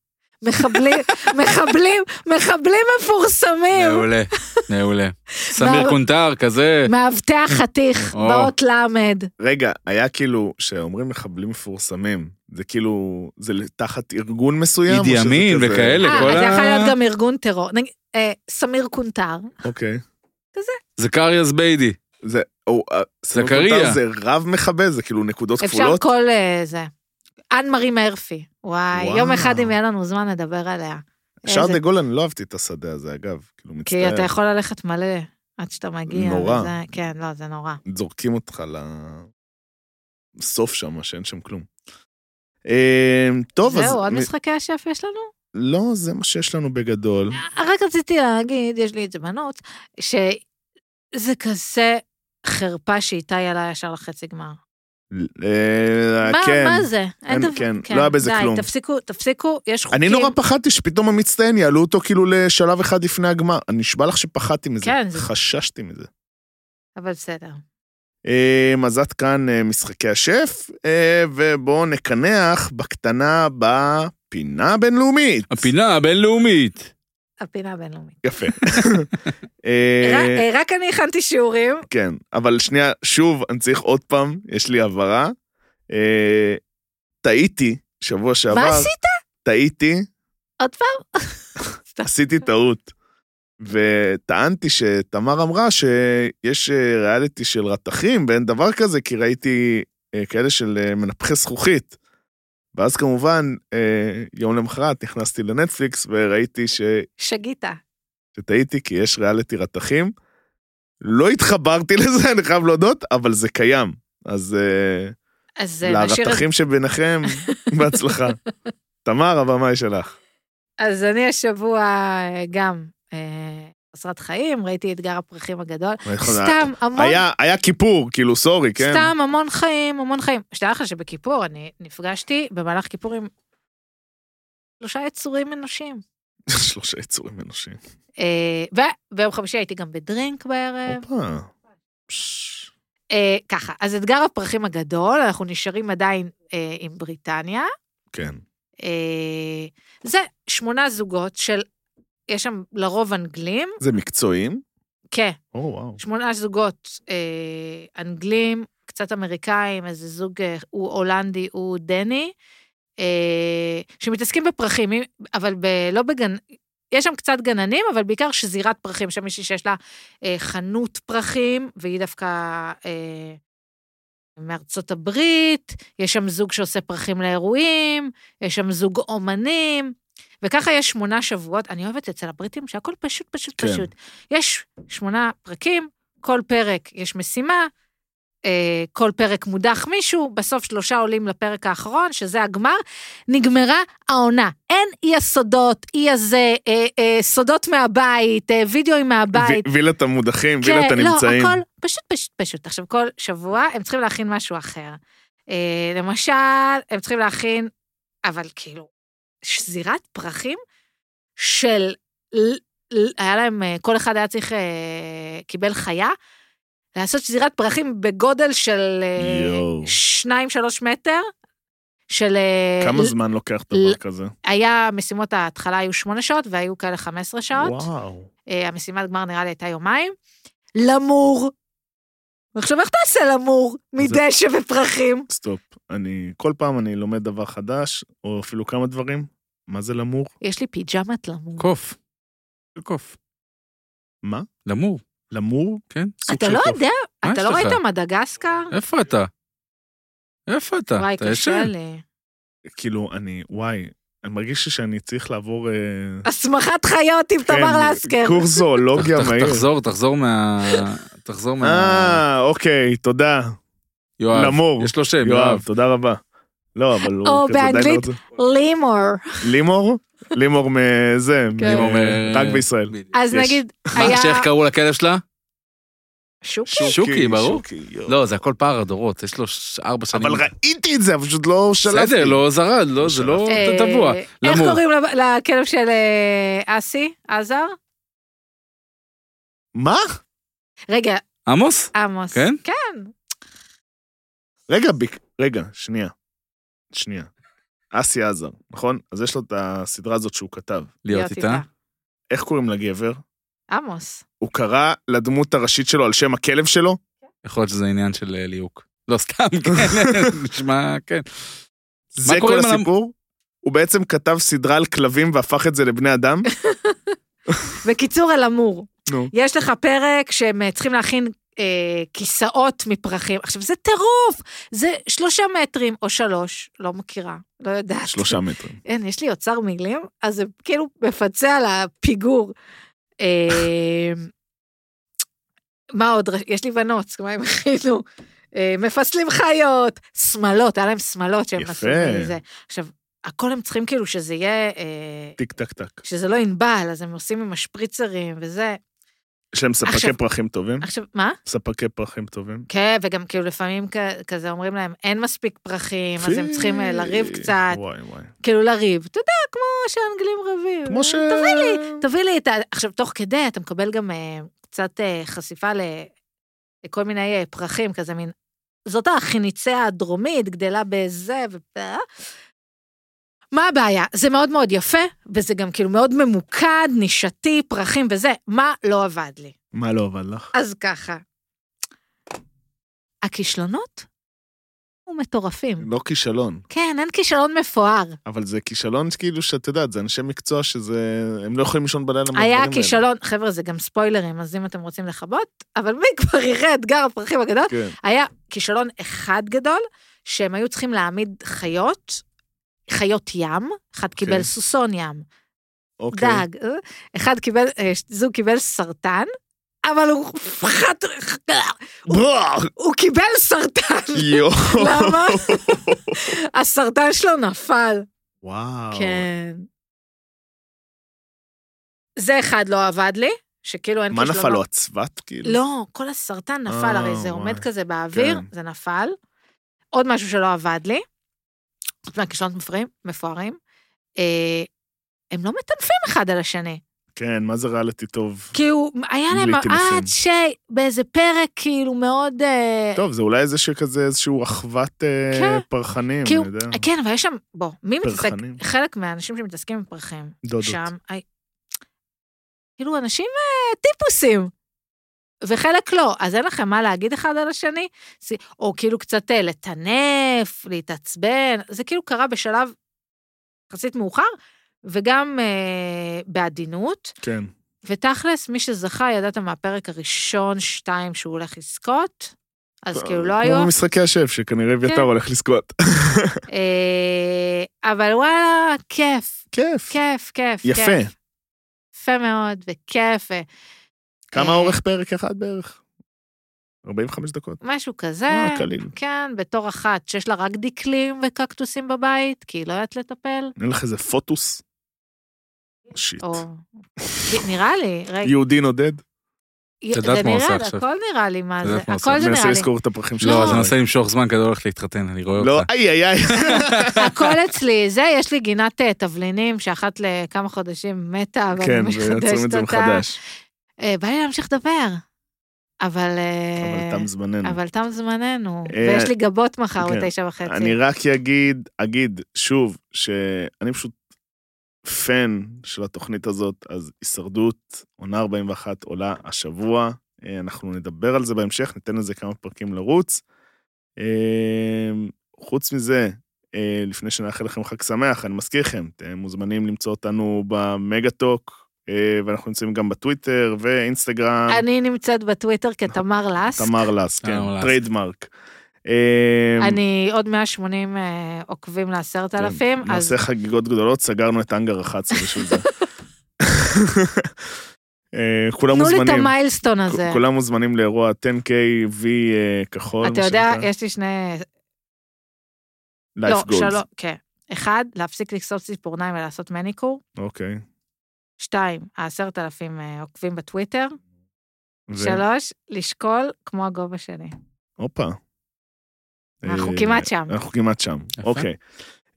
S3: [LAUGHS]
S2: מחבלים, מחבלים, מחבלים מפורסמים.
S3: מעולה,
S2: [LAUGHS]
S3: מעולה. סמיר קונטר, כזה.
S2: מאבטח חתיך,
S3: או.
S2: באות למד.
S1: רגע, היה כאילו, שאומרים מחבלים מפורסמים, זה כאילו, זה תחת ארגון מסוים? או
S3: אידי
S1: שזה
S3: אמין
S1: כזה-
S3: וכאלה,
S2: אה,
S3: כל
S2: זה יכול
S3: ה...
S2: להיות גם ארגון טרור. נגיד, אה, סמיר קונטר.
S3: אה,
S1: אוקיי.
S3: זכריה זביידי.
S1: זה, או, אה, סמל
S3: זכריה.
S1: קונטר זה רב מכבה, זה כאילו נקודות
S2: אפשר
S1: כפולות?
S2: כל אה, זה. אנמרי מרפי. וואי,
S1: וואו.
S2: יום אחד אם יהיה לנו זמן נדבר עליה.
S1: שער
S2: איזה-
S1: דה גול, אני לא אהבתי את השדה הזה, אגב. כאילו,
S2: אה, כי אתה
S1: מצטער.
S2: יכול ללכת מלא עד שאתה מגיע.
S1: נורא.
S2: וזה- כן, לא, זה נורא.
S1: זורקים אותך לסוף שם, שאין שם כלום. אה, טוב, אז...
S2: זהו, עוד
S1: מ-
S2: משחקי השף יש לנו?
S1: לא, זה מה שיש לנו בגדול.
S2: רק רציתי להגיד, יש לי את זה בנות, שזה כזה חרפה שאיתי עלה ישר לחצי גמר.
S1: אה,
S2: מה,
S1: כן.
S2: מה זה? אין
S1: אין-
S2: דבר...
S1: כן, לא היה בזה
S2: די,
S1: כלום.
S2: תפסיקו, תפסיקו, יש חוקים.
S1: אני נורא פחדתי שפתאום המצטיין יעלו אותו כאילו לשלב אחד לפני הגמר. אני נשבע לך שפחדתי מזה.
S2: כן, זה-
S1: חששתי מזה.
S2: אבל בסדר.
S1: אמ, אז עד כאן אה, משחקי השף, אה, ובואו נקנח בקטנה בפינה הבינלאומית.
S3: הפינה הבינלאומית.
S2: הפינה הבינלאומית.
S1: יפה. אה,
S2: רק- אה, רק אני הכנתי שיעורים.
S1: כן, אבל שנייה, שוב, אני צריך עוד פעם, יש לי הבהרה. אה, טעיתי שבוע שעבר.
S2: מה עשית?
S1: טעיתי,
S2: עוד פעם? סתם.
S1: [LAUGHS] עשיתי טעות. וטענתי שתמר אמרה שיש אה, ריאליטי של רתכים ואין דבר כזה, כי ראיתי אה, כאלה של אה, מנפחי זכוכית. ואז כמובן, אה, יום למחרת נכנסתי לנטפליקס וראיתי ש...
S2: שגית.
S1: שטעיתי כי יש ריאליטי רתכים. לא התחברתי [LAUGHS] לזה, אני חייב להודות, אבל זה קיים. אז אה,
S2: אז אה, נשאיר את...
S1: לרתכים
S2: [LAUGHS]
S1: שביניכם, בהצלחה. תמר, הבמה היא שלך.
S2: אז אני השבוע אה, גם אה, חסרת חיים, ראיתי אתגר הפרחים הגדול. סתם, המון
S1: נכון, היה, היה כיפור, כאילו, סורי, כן?
S2: סתם המון חיים, המון חיים. שתדע לך שבכיפור אני נפגשתי במהלך כיפור עם שלושה יצורים אנושיים.
S1: [LAUGHS] שלושה יצורים אנושיים.
S2: אה, וביום חמישי הייתי גם בדרינק בערב.
S1: הופה. פש.
S2: אה, ככה, אז אתגר הפרחים הגדול, אנחנו נשארים עדיין אה, עם בריטניה.
S1: כן.
S2: אה, זה שמונה זוגות של, יש שם לרוב אנגלים,
S1: זה מקצועיים?
S2: כן,
S1: או, וואו.
S2: שמונה זוגות אה, אנגלים, קצת אמריקאים, איזה זוג, אה, הוא הולנדי, הוא דני, אה, שמתעסקים בפרחים, מי- אבל ב, לא בגן... יש שם קצת גננים, אבל בעיקר שזירת פרחים, שם מישהי שיש לה אה, חנות פרחים, והיא דווקא אה, מארצות הברית, יש שם זוג שעושה פרחים לאירועים, יש שם זוג אומנים, וככה יש שמונה שבועות. אני אוהבת אצל הבריטים שהכל פשוט, פשוט,
S1: כן.
S2: כן. פשוט. יש שמונה פרקים, כל פרק יש משימה, אה, כל פרק מודח מישהו, בסוף שלושה עולים לפרק האחרון, שזה הגמר, נגמרה העונה. אין אי הסודות, אי הזה, אה, אה, סודות מהבית, אה, וידאוים מהבית.
S1: ו- וילת המודחים, וילת
S2: לא,
S1: הנמצאים.
S2: הכל פשוט, פשוט, פשוט. עכשיו, כל שבוע הם צריכים להכין משהו אחר. אה, למשל, הם צריכים להכין, אבל כאילו, שזירת פרחים של... ל- ל- היה להם, אה, כל אחד היה צריך, אה, קיבל חיה, לעשות שזירת פרחים בגודל של אה,
S1: יואו.
S2: שניים, שלוש מטר, של... אה,
S1: כמה
S2: ל-
S1: זמן לוקח דבר
S2: ל-
S1: כזה?
S2: היה, משימות ההתחלה היו שמונה שעות, והיו כאלה חמש עשרה שעות.
S1: וואו.
S2: אה, המשימת גמר נראה לי הייתה יומיים. למור. עכשיו, איך תעשה למור מדשא ופרחים?
S1: סטופ. אני, כל פעם אני לומד דבר חדש, או אפילו כמה דברים. מה זה למור?
S2: יש לי פיג'מת למור.
S3: קוף. קוף.
S1: מה?
S3: למור.
S1: למור?
S3: כן.
S1: סוג
S2: אתה
S1: של
S2: לא
S1: קוף.
S2: יודע?
S3: מה
S2: אתה
S3: יש
S2: לא
S3: לך?
S2: ראית מדגסקר?
S3: איפה אתה? איפה אתה?
S2: וואי,
S3: אתה
S2: קשה
S3: ישן?
S2: לי.
S1: כאילו, אני, וואי, אני מרגיש לי שאני צריך לעבור... אה,
S2: הסמכת חיות עם
S1: כן,
S2: תמר לסקר.
S1: קורס
S3: תח-
S1: זואולוגיה
S3: תח-
S1: אוקיי, מהיר.
S3: תחזור, תחזור מה... תחזור מה...
S1: אה, אוקיי, תודה.
S3: יואב.
S1: למור.
S3: יש לו שם,
S1: יואב,
S3: יואב.
S1: תודה רבה. לא, אבל הוא
S2: או
S1: כזה עדיין לא
S2: באנגלית,
S1: זה.
S2: לימור. לימור?
S1: לימור? לימור מזה,
S2: כן.
S1: לימור
S3: לימור, אה,
S1: רק בישראל.
S2: אז
S1: יש.
S2: נגיד,
S3: מה,
S2: היה...
S3: שאיך קראו לכלב שלה?
S2: שוקי?
S3: שוקי, ברור.
S1: שוקי, יואו.
S3: לא, זה הכל פער הדורות, יש לו ש- ארבע שנים.
S1: אבל ראיתי את זה, פשוט לא שלפתי.
S3: בסדר, לא זרד, לא, זה לא
S2: אה,
S3: טבוע.
S2: איך
S3: למור.
S2: קוראים לב- לכלב של אה, אסי? עזר?
S1: מה?
S2: רגע,
S3: עמוס?
S2: עמוס.
S3: כן?
S2: כן.
S1: רגע, ביק, רגע, שנייה. שנייה. אסי עזר, נכון? אז יש לו את הסדרה הזאת שהוא כתב.
S3: להיות איתה.
S1: איך קוראים לגבר?
S2: עמוס.
S1: הוא קרא לדמות הראשית שלו על שם הכלב שלו?
S3: יכול להיות שזה עניין של אה, ליהוק. לא, סתם,
S1: [LAUGHS]
S3: כן, נשמע, כן.
S1: זה כל
S3: קוראים על המ-
S1: הסיפור? הוא בעצם כתב סדרה על כלבים והפך את זה לבני אדם?
S2: בקיצור, על אמור.
S1: נו.
S2: יש לך פרק שהם אה, צריכים להכין אה, כיסאות מפרחים. עכשיו, זה טירוף! זה שלושה מטרים או שלוש, לא מכירה, לא יודעת.
S1: שלושה מטרים.
S2: [LAUGHS] אין, יש לי אוצר מילים, אז זה כאילו מפצה על הפיגור. אה, [LAUGHS] מה עוד? רש- יש לי בנות, מה הם הכינו? אה, מפסלים חיות, שמלות, היה להם שמלות שהם
S1: יפה.
S2: עשו מזה. עכשיו, הכל הם צריכים כאילו שזה יהיה, אה,
S1: טיק טק טק.
S2: שזה לא ינבל, אז הם עושים עם השפריצרים וזה.
S1: יש להם ספקי
S2: עכשיו-
S1: פרחים טובים?
S2: עכשיו, מה?
S1: ספקי פרחים טובים.
S2: כן, וגם כאילו לפעמים כ- כזה אומרים להם, אין מספיק פרחים, אז הם צריכים אה, לריב
S1: פי-
S2: קצת,
S1: וואי וואי.
S2: כאילו לריב. אתה יודע, כמו שהאנגלים רבים.
S1: כמו ש...
S2: אה, תביא לי, תביא לי את ה... עכשיו, תוך כדי אתה מקבל גם אה, קצת אה, חשיפה ל- לכל מיני אה, פרחים, כזה מין... זאת החיניציה הדרומית, גדלה בזה ו... אה? מה הבעיה? זה מאוד מאוד יפה, וזה גם כאילו מאוד ממוקד, נישתי, פרחים וזה. מה לא עבד לי?
S1: מה לא עבד לך?
S2: אז ככה. הכישלונות הוא מטורפים.
S1: לא כישלון,
S2: כן, אין כישלון מפואר.
S1: אבל זה כישלון כאילו שאת יודעת, זה אנשי מקצוע שזה... הם לא יכולים לישון בלילה מהדברים
S2: היה
S1: האלה.
S2: כישלון, חבר'ה, זה גם ספוילרים, אז אם אתם רוצים לכבות, אבל מי כבר יראה אתגר הפרחים הגדול?
S1: כן.
S2: היה כישלון אחד גדול, שהם היו צריכים להעמיד חיות, חיות ים, אחד קיבל סוסון ים,
S1: אוקיי.
S2: דג, אה? אחד קיבל, אה, זוג קיבל סרטן, אבל הוא חת...
S1: בואו!
S2: הוא קיבל סרטן.
S1: יואו. [LAUGHS]
S2: למה? הסרטן שלו נפל.
S1: וואו.
S2: כן. זה אחד לא עבד לי, שכאילו אין
S1: מה
S2: כישלונות.
S1: נפל לו? הצבת כאילו?
S2: לא, כל הסרטן נפל,
S1: אה,
S2: הרי זה עומד
S1: וואי.
S2: כזה באוויר,
S1: כן.
S2: זה נפל. עוד משהו שלא עבד לי, חוץ מהכישלונות מפוארים, מפוארים, אה, הם לא מטנפים אחד על השני.
S1: כן, מה זה ריאליטי טוב?
S2: כי הוא, היה
S1: בלי
S2: להם
S1: טינופים.
S2: מראה ש... באיזה פרק, כאילו, מאוד... אה,
S1: טוב, זה אולי איזה שכזה, איזשהו אחוות אה,
S2: כן.
S1: פרחנים,
S2: כי הוא-
S1: אני יודע.
S2: כן, אבל יש שם, בוא, מי מתעסק?
S1: פרחנים.
S2: חלק מהאנשים שמתעסקים עם פרחים,
S1: דודות.
S2: שם, היי, כאילו, אנשים אה, טיפוסים. וחלק לא, אז אין לכם מה להגיד אחד על השני, זה- או כאילו קצת אה, לטנף, להתעצבן, זה כאילו קרה בשלב יחסית מאוחר, וגם אה, בעדינות,
S1: כן.
S2: ותכלס, מי שזכה, ידעת מהפרק הראשון, שתיים, שהוא הולך לזכות, אז כאילו לא היו
S1: כמו במשחקי השף, שכנראה אביתר
S2: כן.
S1: הולך לזכות. [LAUGHS]
S2: אה, אבל וואלה, כיף,
S1: כיף.
S2: כיף, כיף. כיף.
S1: יפה.
S2: יפה מאוד, וכיף, ו-
S1: כמה
S2: אה,
S1: אורך פרק אחד בערך? 45 דקות.
S2: משהו כזה.
S3: לא,
S1: אה, קליל.
S2: כן, בתור אחת שיש לה רק דקלים וקקטוסים בבית, כי היא לא יודעת לטפל,
S1: אין לך איזה פוטוס? שיט.
S3: [LAUGHS]
S2: או... נראה לי, רגע.
S1: יהודי נודד?
S2: י-
S3: את יודעת
S2: זה
S3: מה הוא עושה
S2: נראה לי,
S3: עכשיו?
S2: הכל נראה לי, מה
S3: את
S2: זה,
S3: יודעת מה הוא
S2: הכל
S3: עושה?
S2: זה
S1: מנסה
S2: נראה לי.
S1: לזכור את הפרחים שלך.
S3: לא, אז אני מנסה למשוך זמן כדי לא ללכת להתחתן, אני רואה
S1: לא,
S3: אותך.
S1: איי איי איי.
S2: [LAUGHS] הכל אצלי, זה, יש לי גינת אה, תבלינים שאחת לכמה חודשים מתה, ואני
S1: כן, ויוצרים את
S2: מחדשת
S1: זה
S2: אותה.
S1: מחדש.
S2: אה, בא לי להמשיך לדבר, אבל... אה,
S1: אבל תם זמננו.
S2: אבל תם זמננו,
S1: אה,
S2: ויש לי גבות מחר
S1: כן.
S2: בתשע וחצי.
S1: אני רק אגיד, אגיד שוב, שאני פשוט פן של התוכנית הזאת, אז הישרדות, עונה 41 עולה השבוע. אה, אנחנו נדבר על זה בהמשך, ניתן לזה כמה פרקים לרוץ. אה, חוץ מזה, אה, לפני שנאחל לכם חג שמח, אני מזכיר לכם, אתם מוזמנים למצוא אותנו במגה-טוק, אה, ואנחנו נמצאים גם בטוויטר ואינסטגרם.
S2: אני נמצאת בטוויטר כתמר לסק.
S1: תמר לס, כן,
S3: תמר לס.
S1: טריידמרק. אה,
S2: אני עוד 180 אה, עוקבים לעשרת אלפים,
S1: כן,
S2: אז
S1: נעשה חגיגות גדולות, סגרנו את אנגר 11 בשביל זה. אה, כולם
S2: תנו לי את
S1: מוזמנים,
S2: המיילסטון הזה.
S1: כ- כולם מוזמנים לאירוע 10K V אה, כחול,
S2: אתה יודע, יש לי שני... לא,
S1: לייף גולד,
S2: שלוש, כן. אחד, להפסיק לקסוף ציפורניים ולעשות מניקור.
S1: אוקיי,
S2: שתיים, העשרת אלפים אה, עוקבים בטוויטר.
S1: ו-
S2: שלוש, לשקול כמו הגובה שלי.
S1: הופה.
S2: אנחנו
S1: אה,
S2: כמעט
S1: [LAUGHS]
S2: שם.
S1: אנחנו כמעט שם,
S3: יפה.
S1: אוקיי.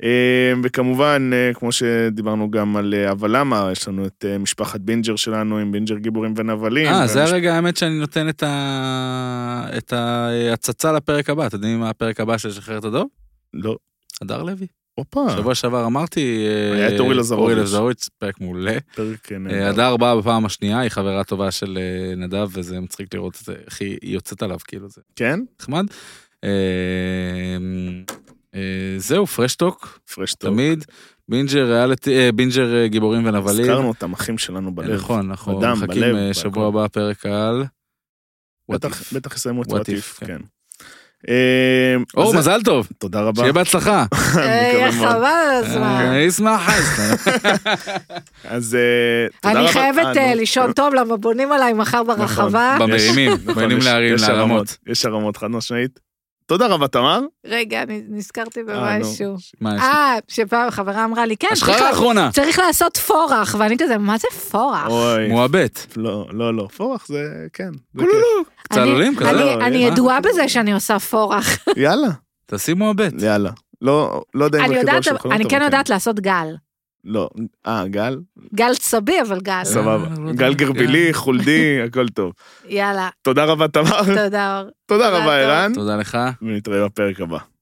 S1: אה, וכמובן, אה, כמו שדיברנו גם על אה, אבל למה, יש לנו את אה, משפחת בינג'ר שלנו עם בינג'ר גיבורים ונבלים.
S3: אה, זה
S1: והמשפחה-
S3: הרגע, האמת שאני נותן את ה- את ההצצה לפרק הבא. אתם יודעים מה הפרק הבא של שחרר את הדוב?
S1: לא,
S3: הדר לוי.
S1: הופה,
S3: שבוע שעבר אמרתי... אה,
S1: אה. היה את אורי לזרוביץ'.
S3: אורי לזרוביץ', פרק מעולה.
S1: פרק אה,
S3: אה,
S1: נהדר.
S3: הדר באה בפעם השנייה, היא חברה טובה של אה, נדב, וזה מצחיק לראות את זה, איך היא היא יוצאת עליו, כאילו, זה
S1: כן?
S3: נחמד. אה, אה, זהו, פרשטוק,
S1: פרש טוב.
S3: תמיד. בינג'ר ריאליטי, אה, בינג'ר אה, גיבורים ונבלים. כן, אה,
S1: הזכרנו אותם, אחים שלנו בלב.
S3: נכון, אנחנו
S1: בדם,
S3: מחכים
S1: בלב,
S3: אה,
S1: בהכל.
S3: שבוע הבא פרק על What
S1: בטח-
S3: if.
S1: בטח יסיימו את
S3: What
S1: וואט
S3: if,
S1: איף,
S3: כן.
S1: כן. אה,
S3: אור,
S1: אז-
S3: מזל טוב,
S1: תודה רבה.
S3: שיהיה בהצלחה. [LAUGHS]
S1: אני
S2: אה,
S1: מקווה מאוד. אוקיי.
S2: חבל על הזמן.
S3: אה, אשמח חסן.
S1: אז אה, תודה רבה.
S2: אני חייבת
S1: אה,
S2: אה,
S1: נו. נכון.
S2: לישון טוב, למה בונים עליי מחר ברחבה.
S1: יש-
S3: במרימים, בונים
S1: יש-
S3: להרים,
S1: יש
S3: להרמות.
S1: הרמות, יש הרמות חד משמעית. תודה רבה תמר.
S2: רגע, אני נזכרתי
S1: אה, נו.
S2: במשהו.
S3: מה יש?
S2: אה, שפעם חברה אמרה לי, כן, צריך
S3: השחרה
S2: לה-
S3: האחרונה,
S2: צריך לעשות פורח, ואני כזה, מה זה פורח?
S1: אוי.
S3: מועבט.
S1: לא, לא, לא, פורח זה כן. זה
S3: צלולים
S2: אני-
S3: כזה?
S2: אני-
S1: לא,
S2: אני
S1: אה?
S2: ידועה בזה שאני עושה פורח.
S1: כיף. יאללה,
S3: תעשי מועבט.
S1: יאללה. לא, לא יודע אם
S2: אני
S1: רקדו על
S2: יודעת,
S1: שולחנות,
S2: אני
S1: אבל
S2: כן יודעת לעשות גל.
S1: לא, אה, גל?
S2: גל צבי, אבל גל.
S1: סבבה.
S3: לא יודע.
S1: גל גרבילי, חולדי, הכל טוב.
S2: יאללה,
S1: תודה רבה תמר,
S2: תודה אור.
S1: תודה
S2: תודה.
S1: רבה ערן,
S3: תודה לך.
S1: ונתראה בפרק הבא.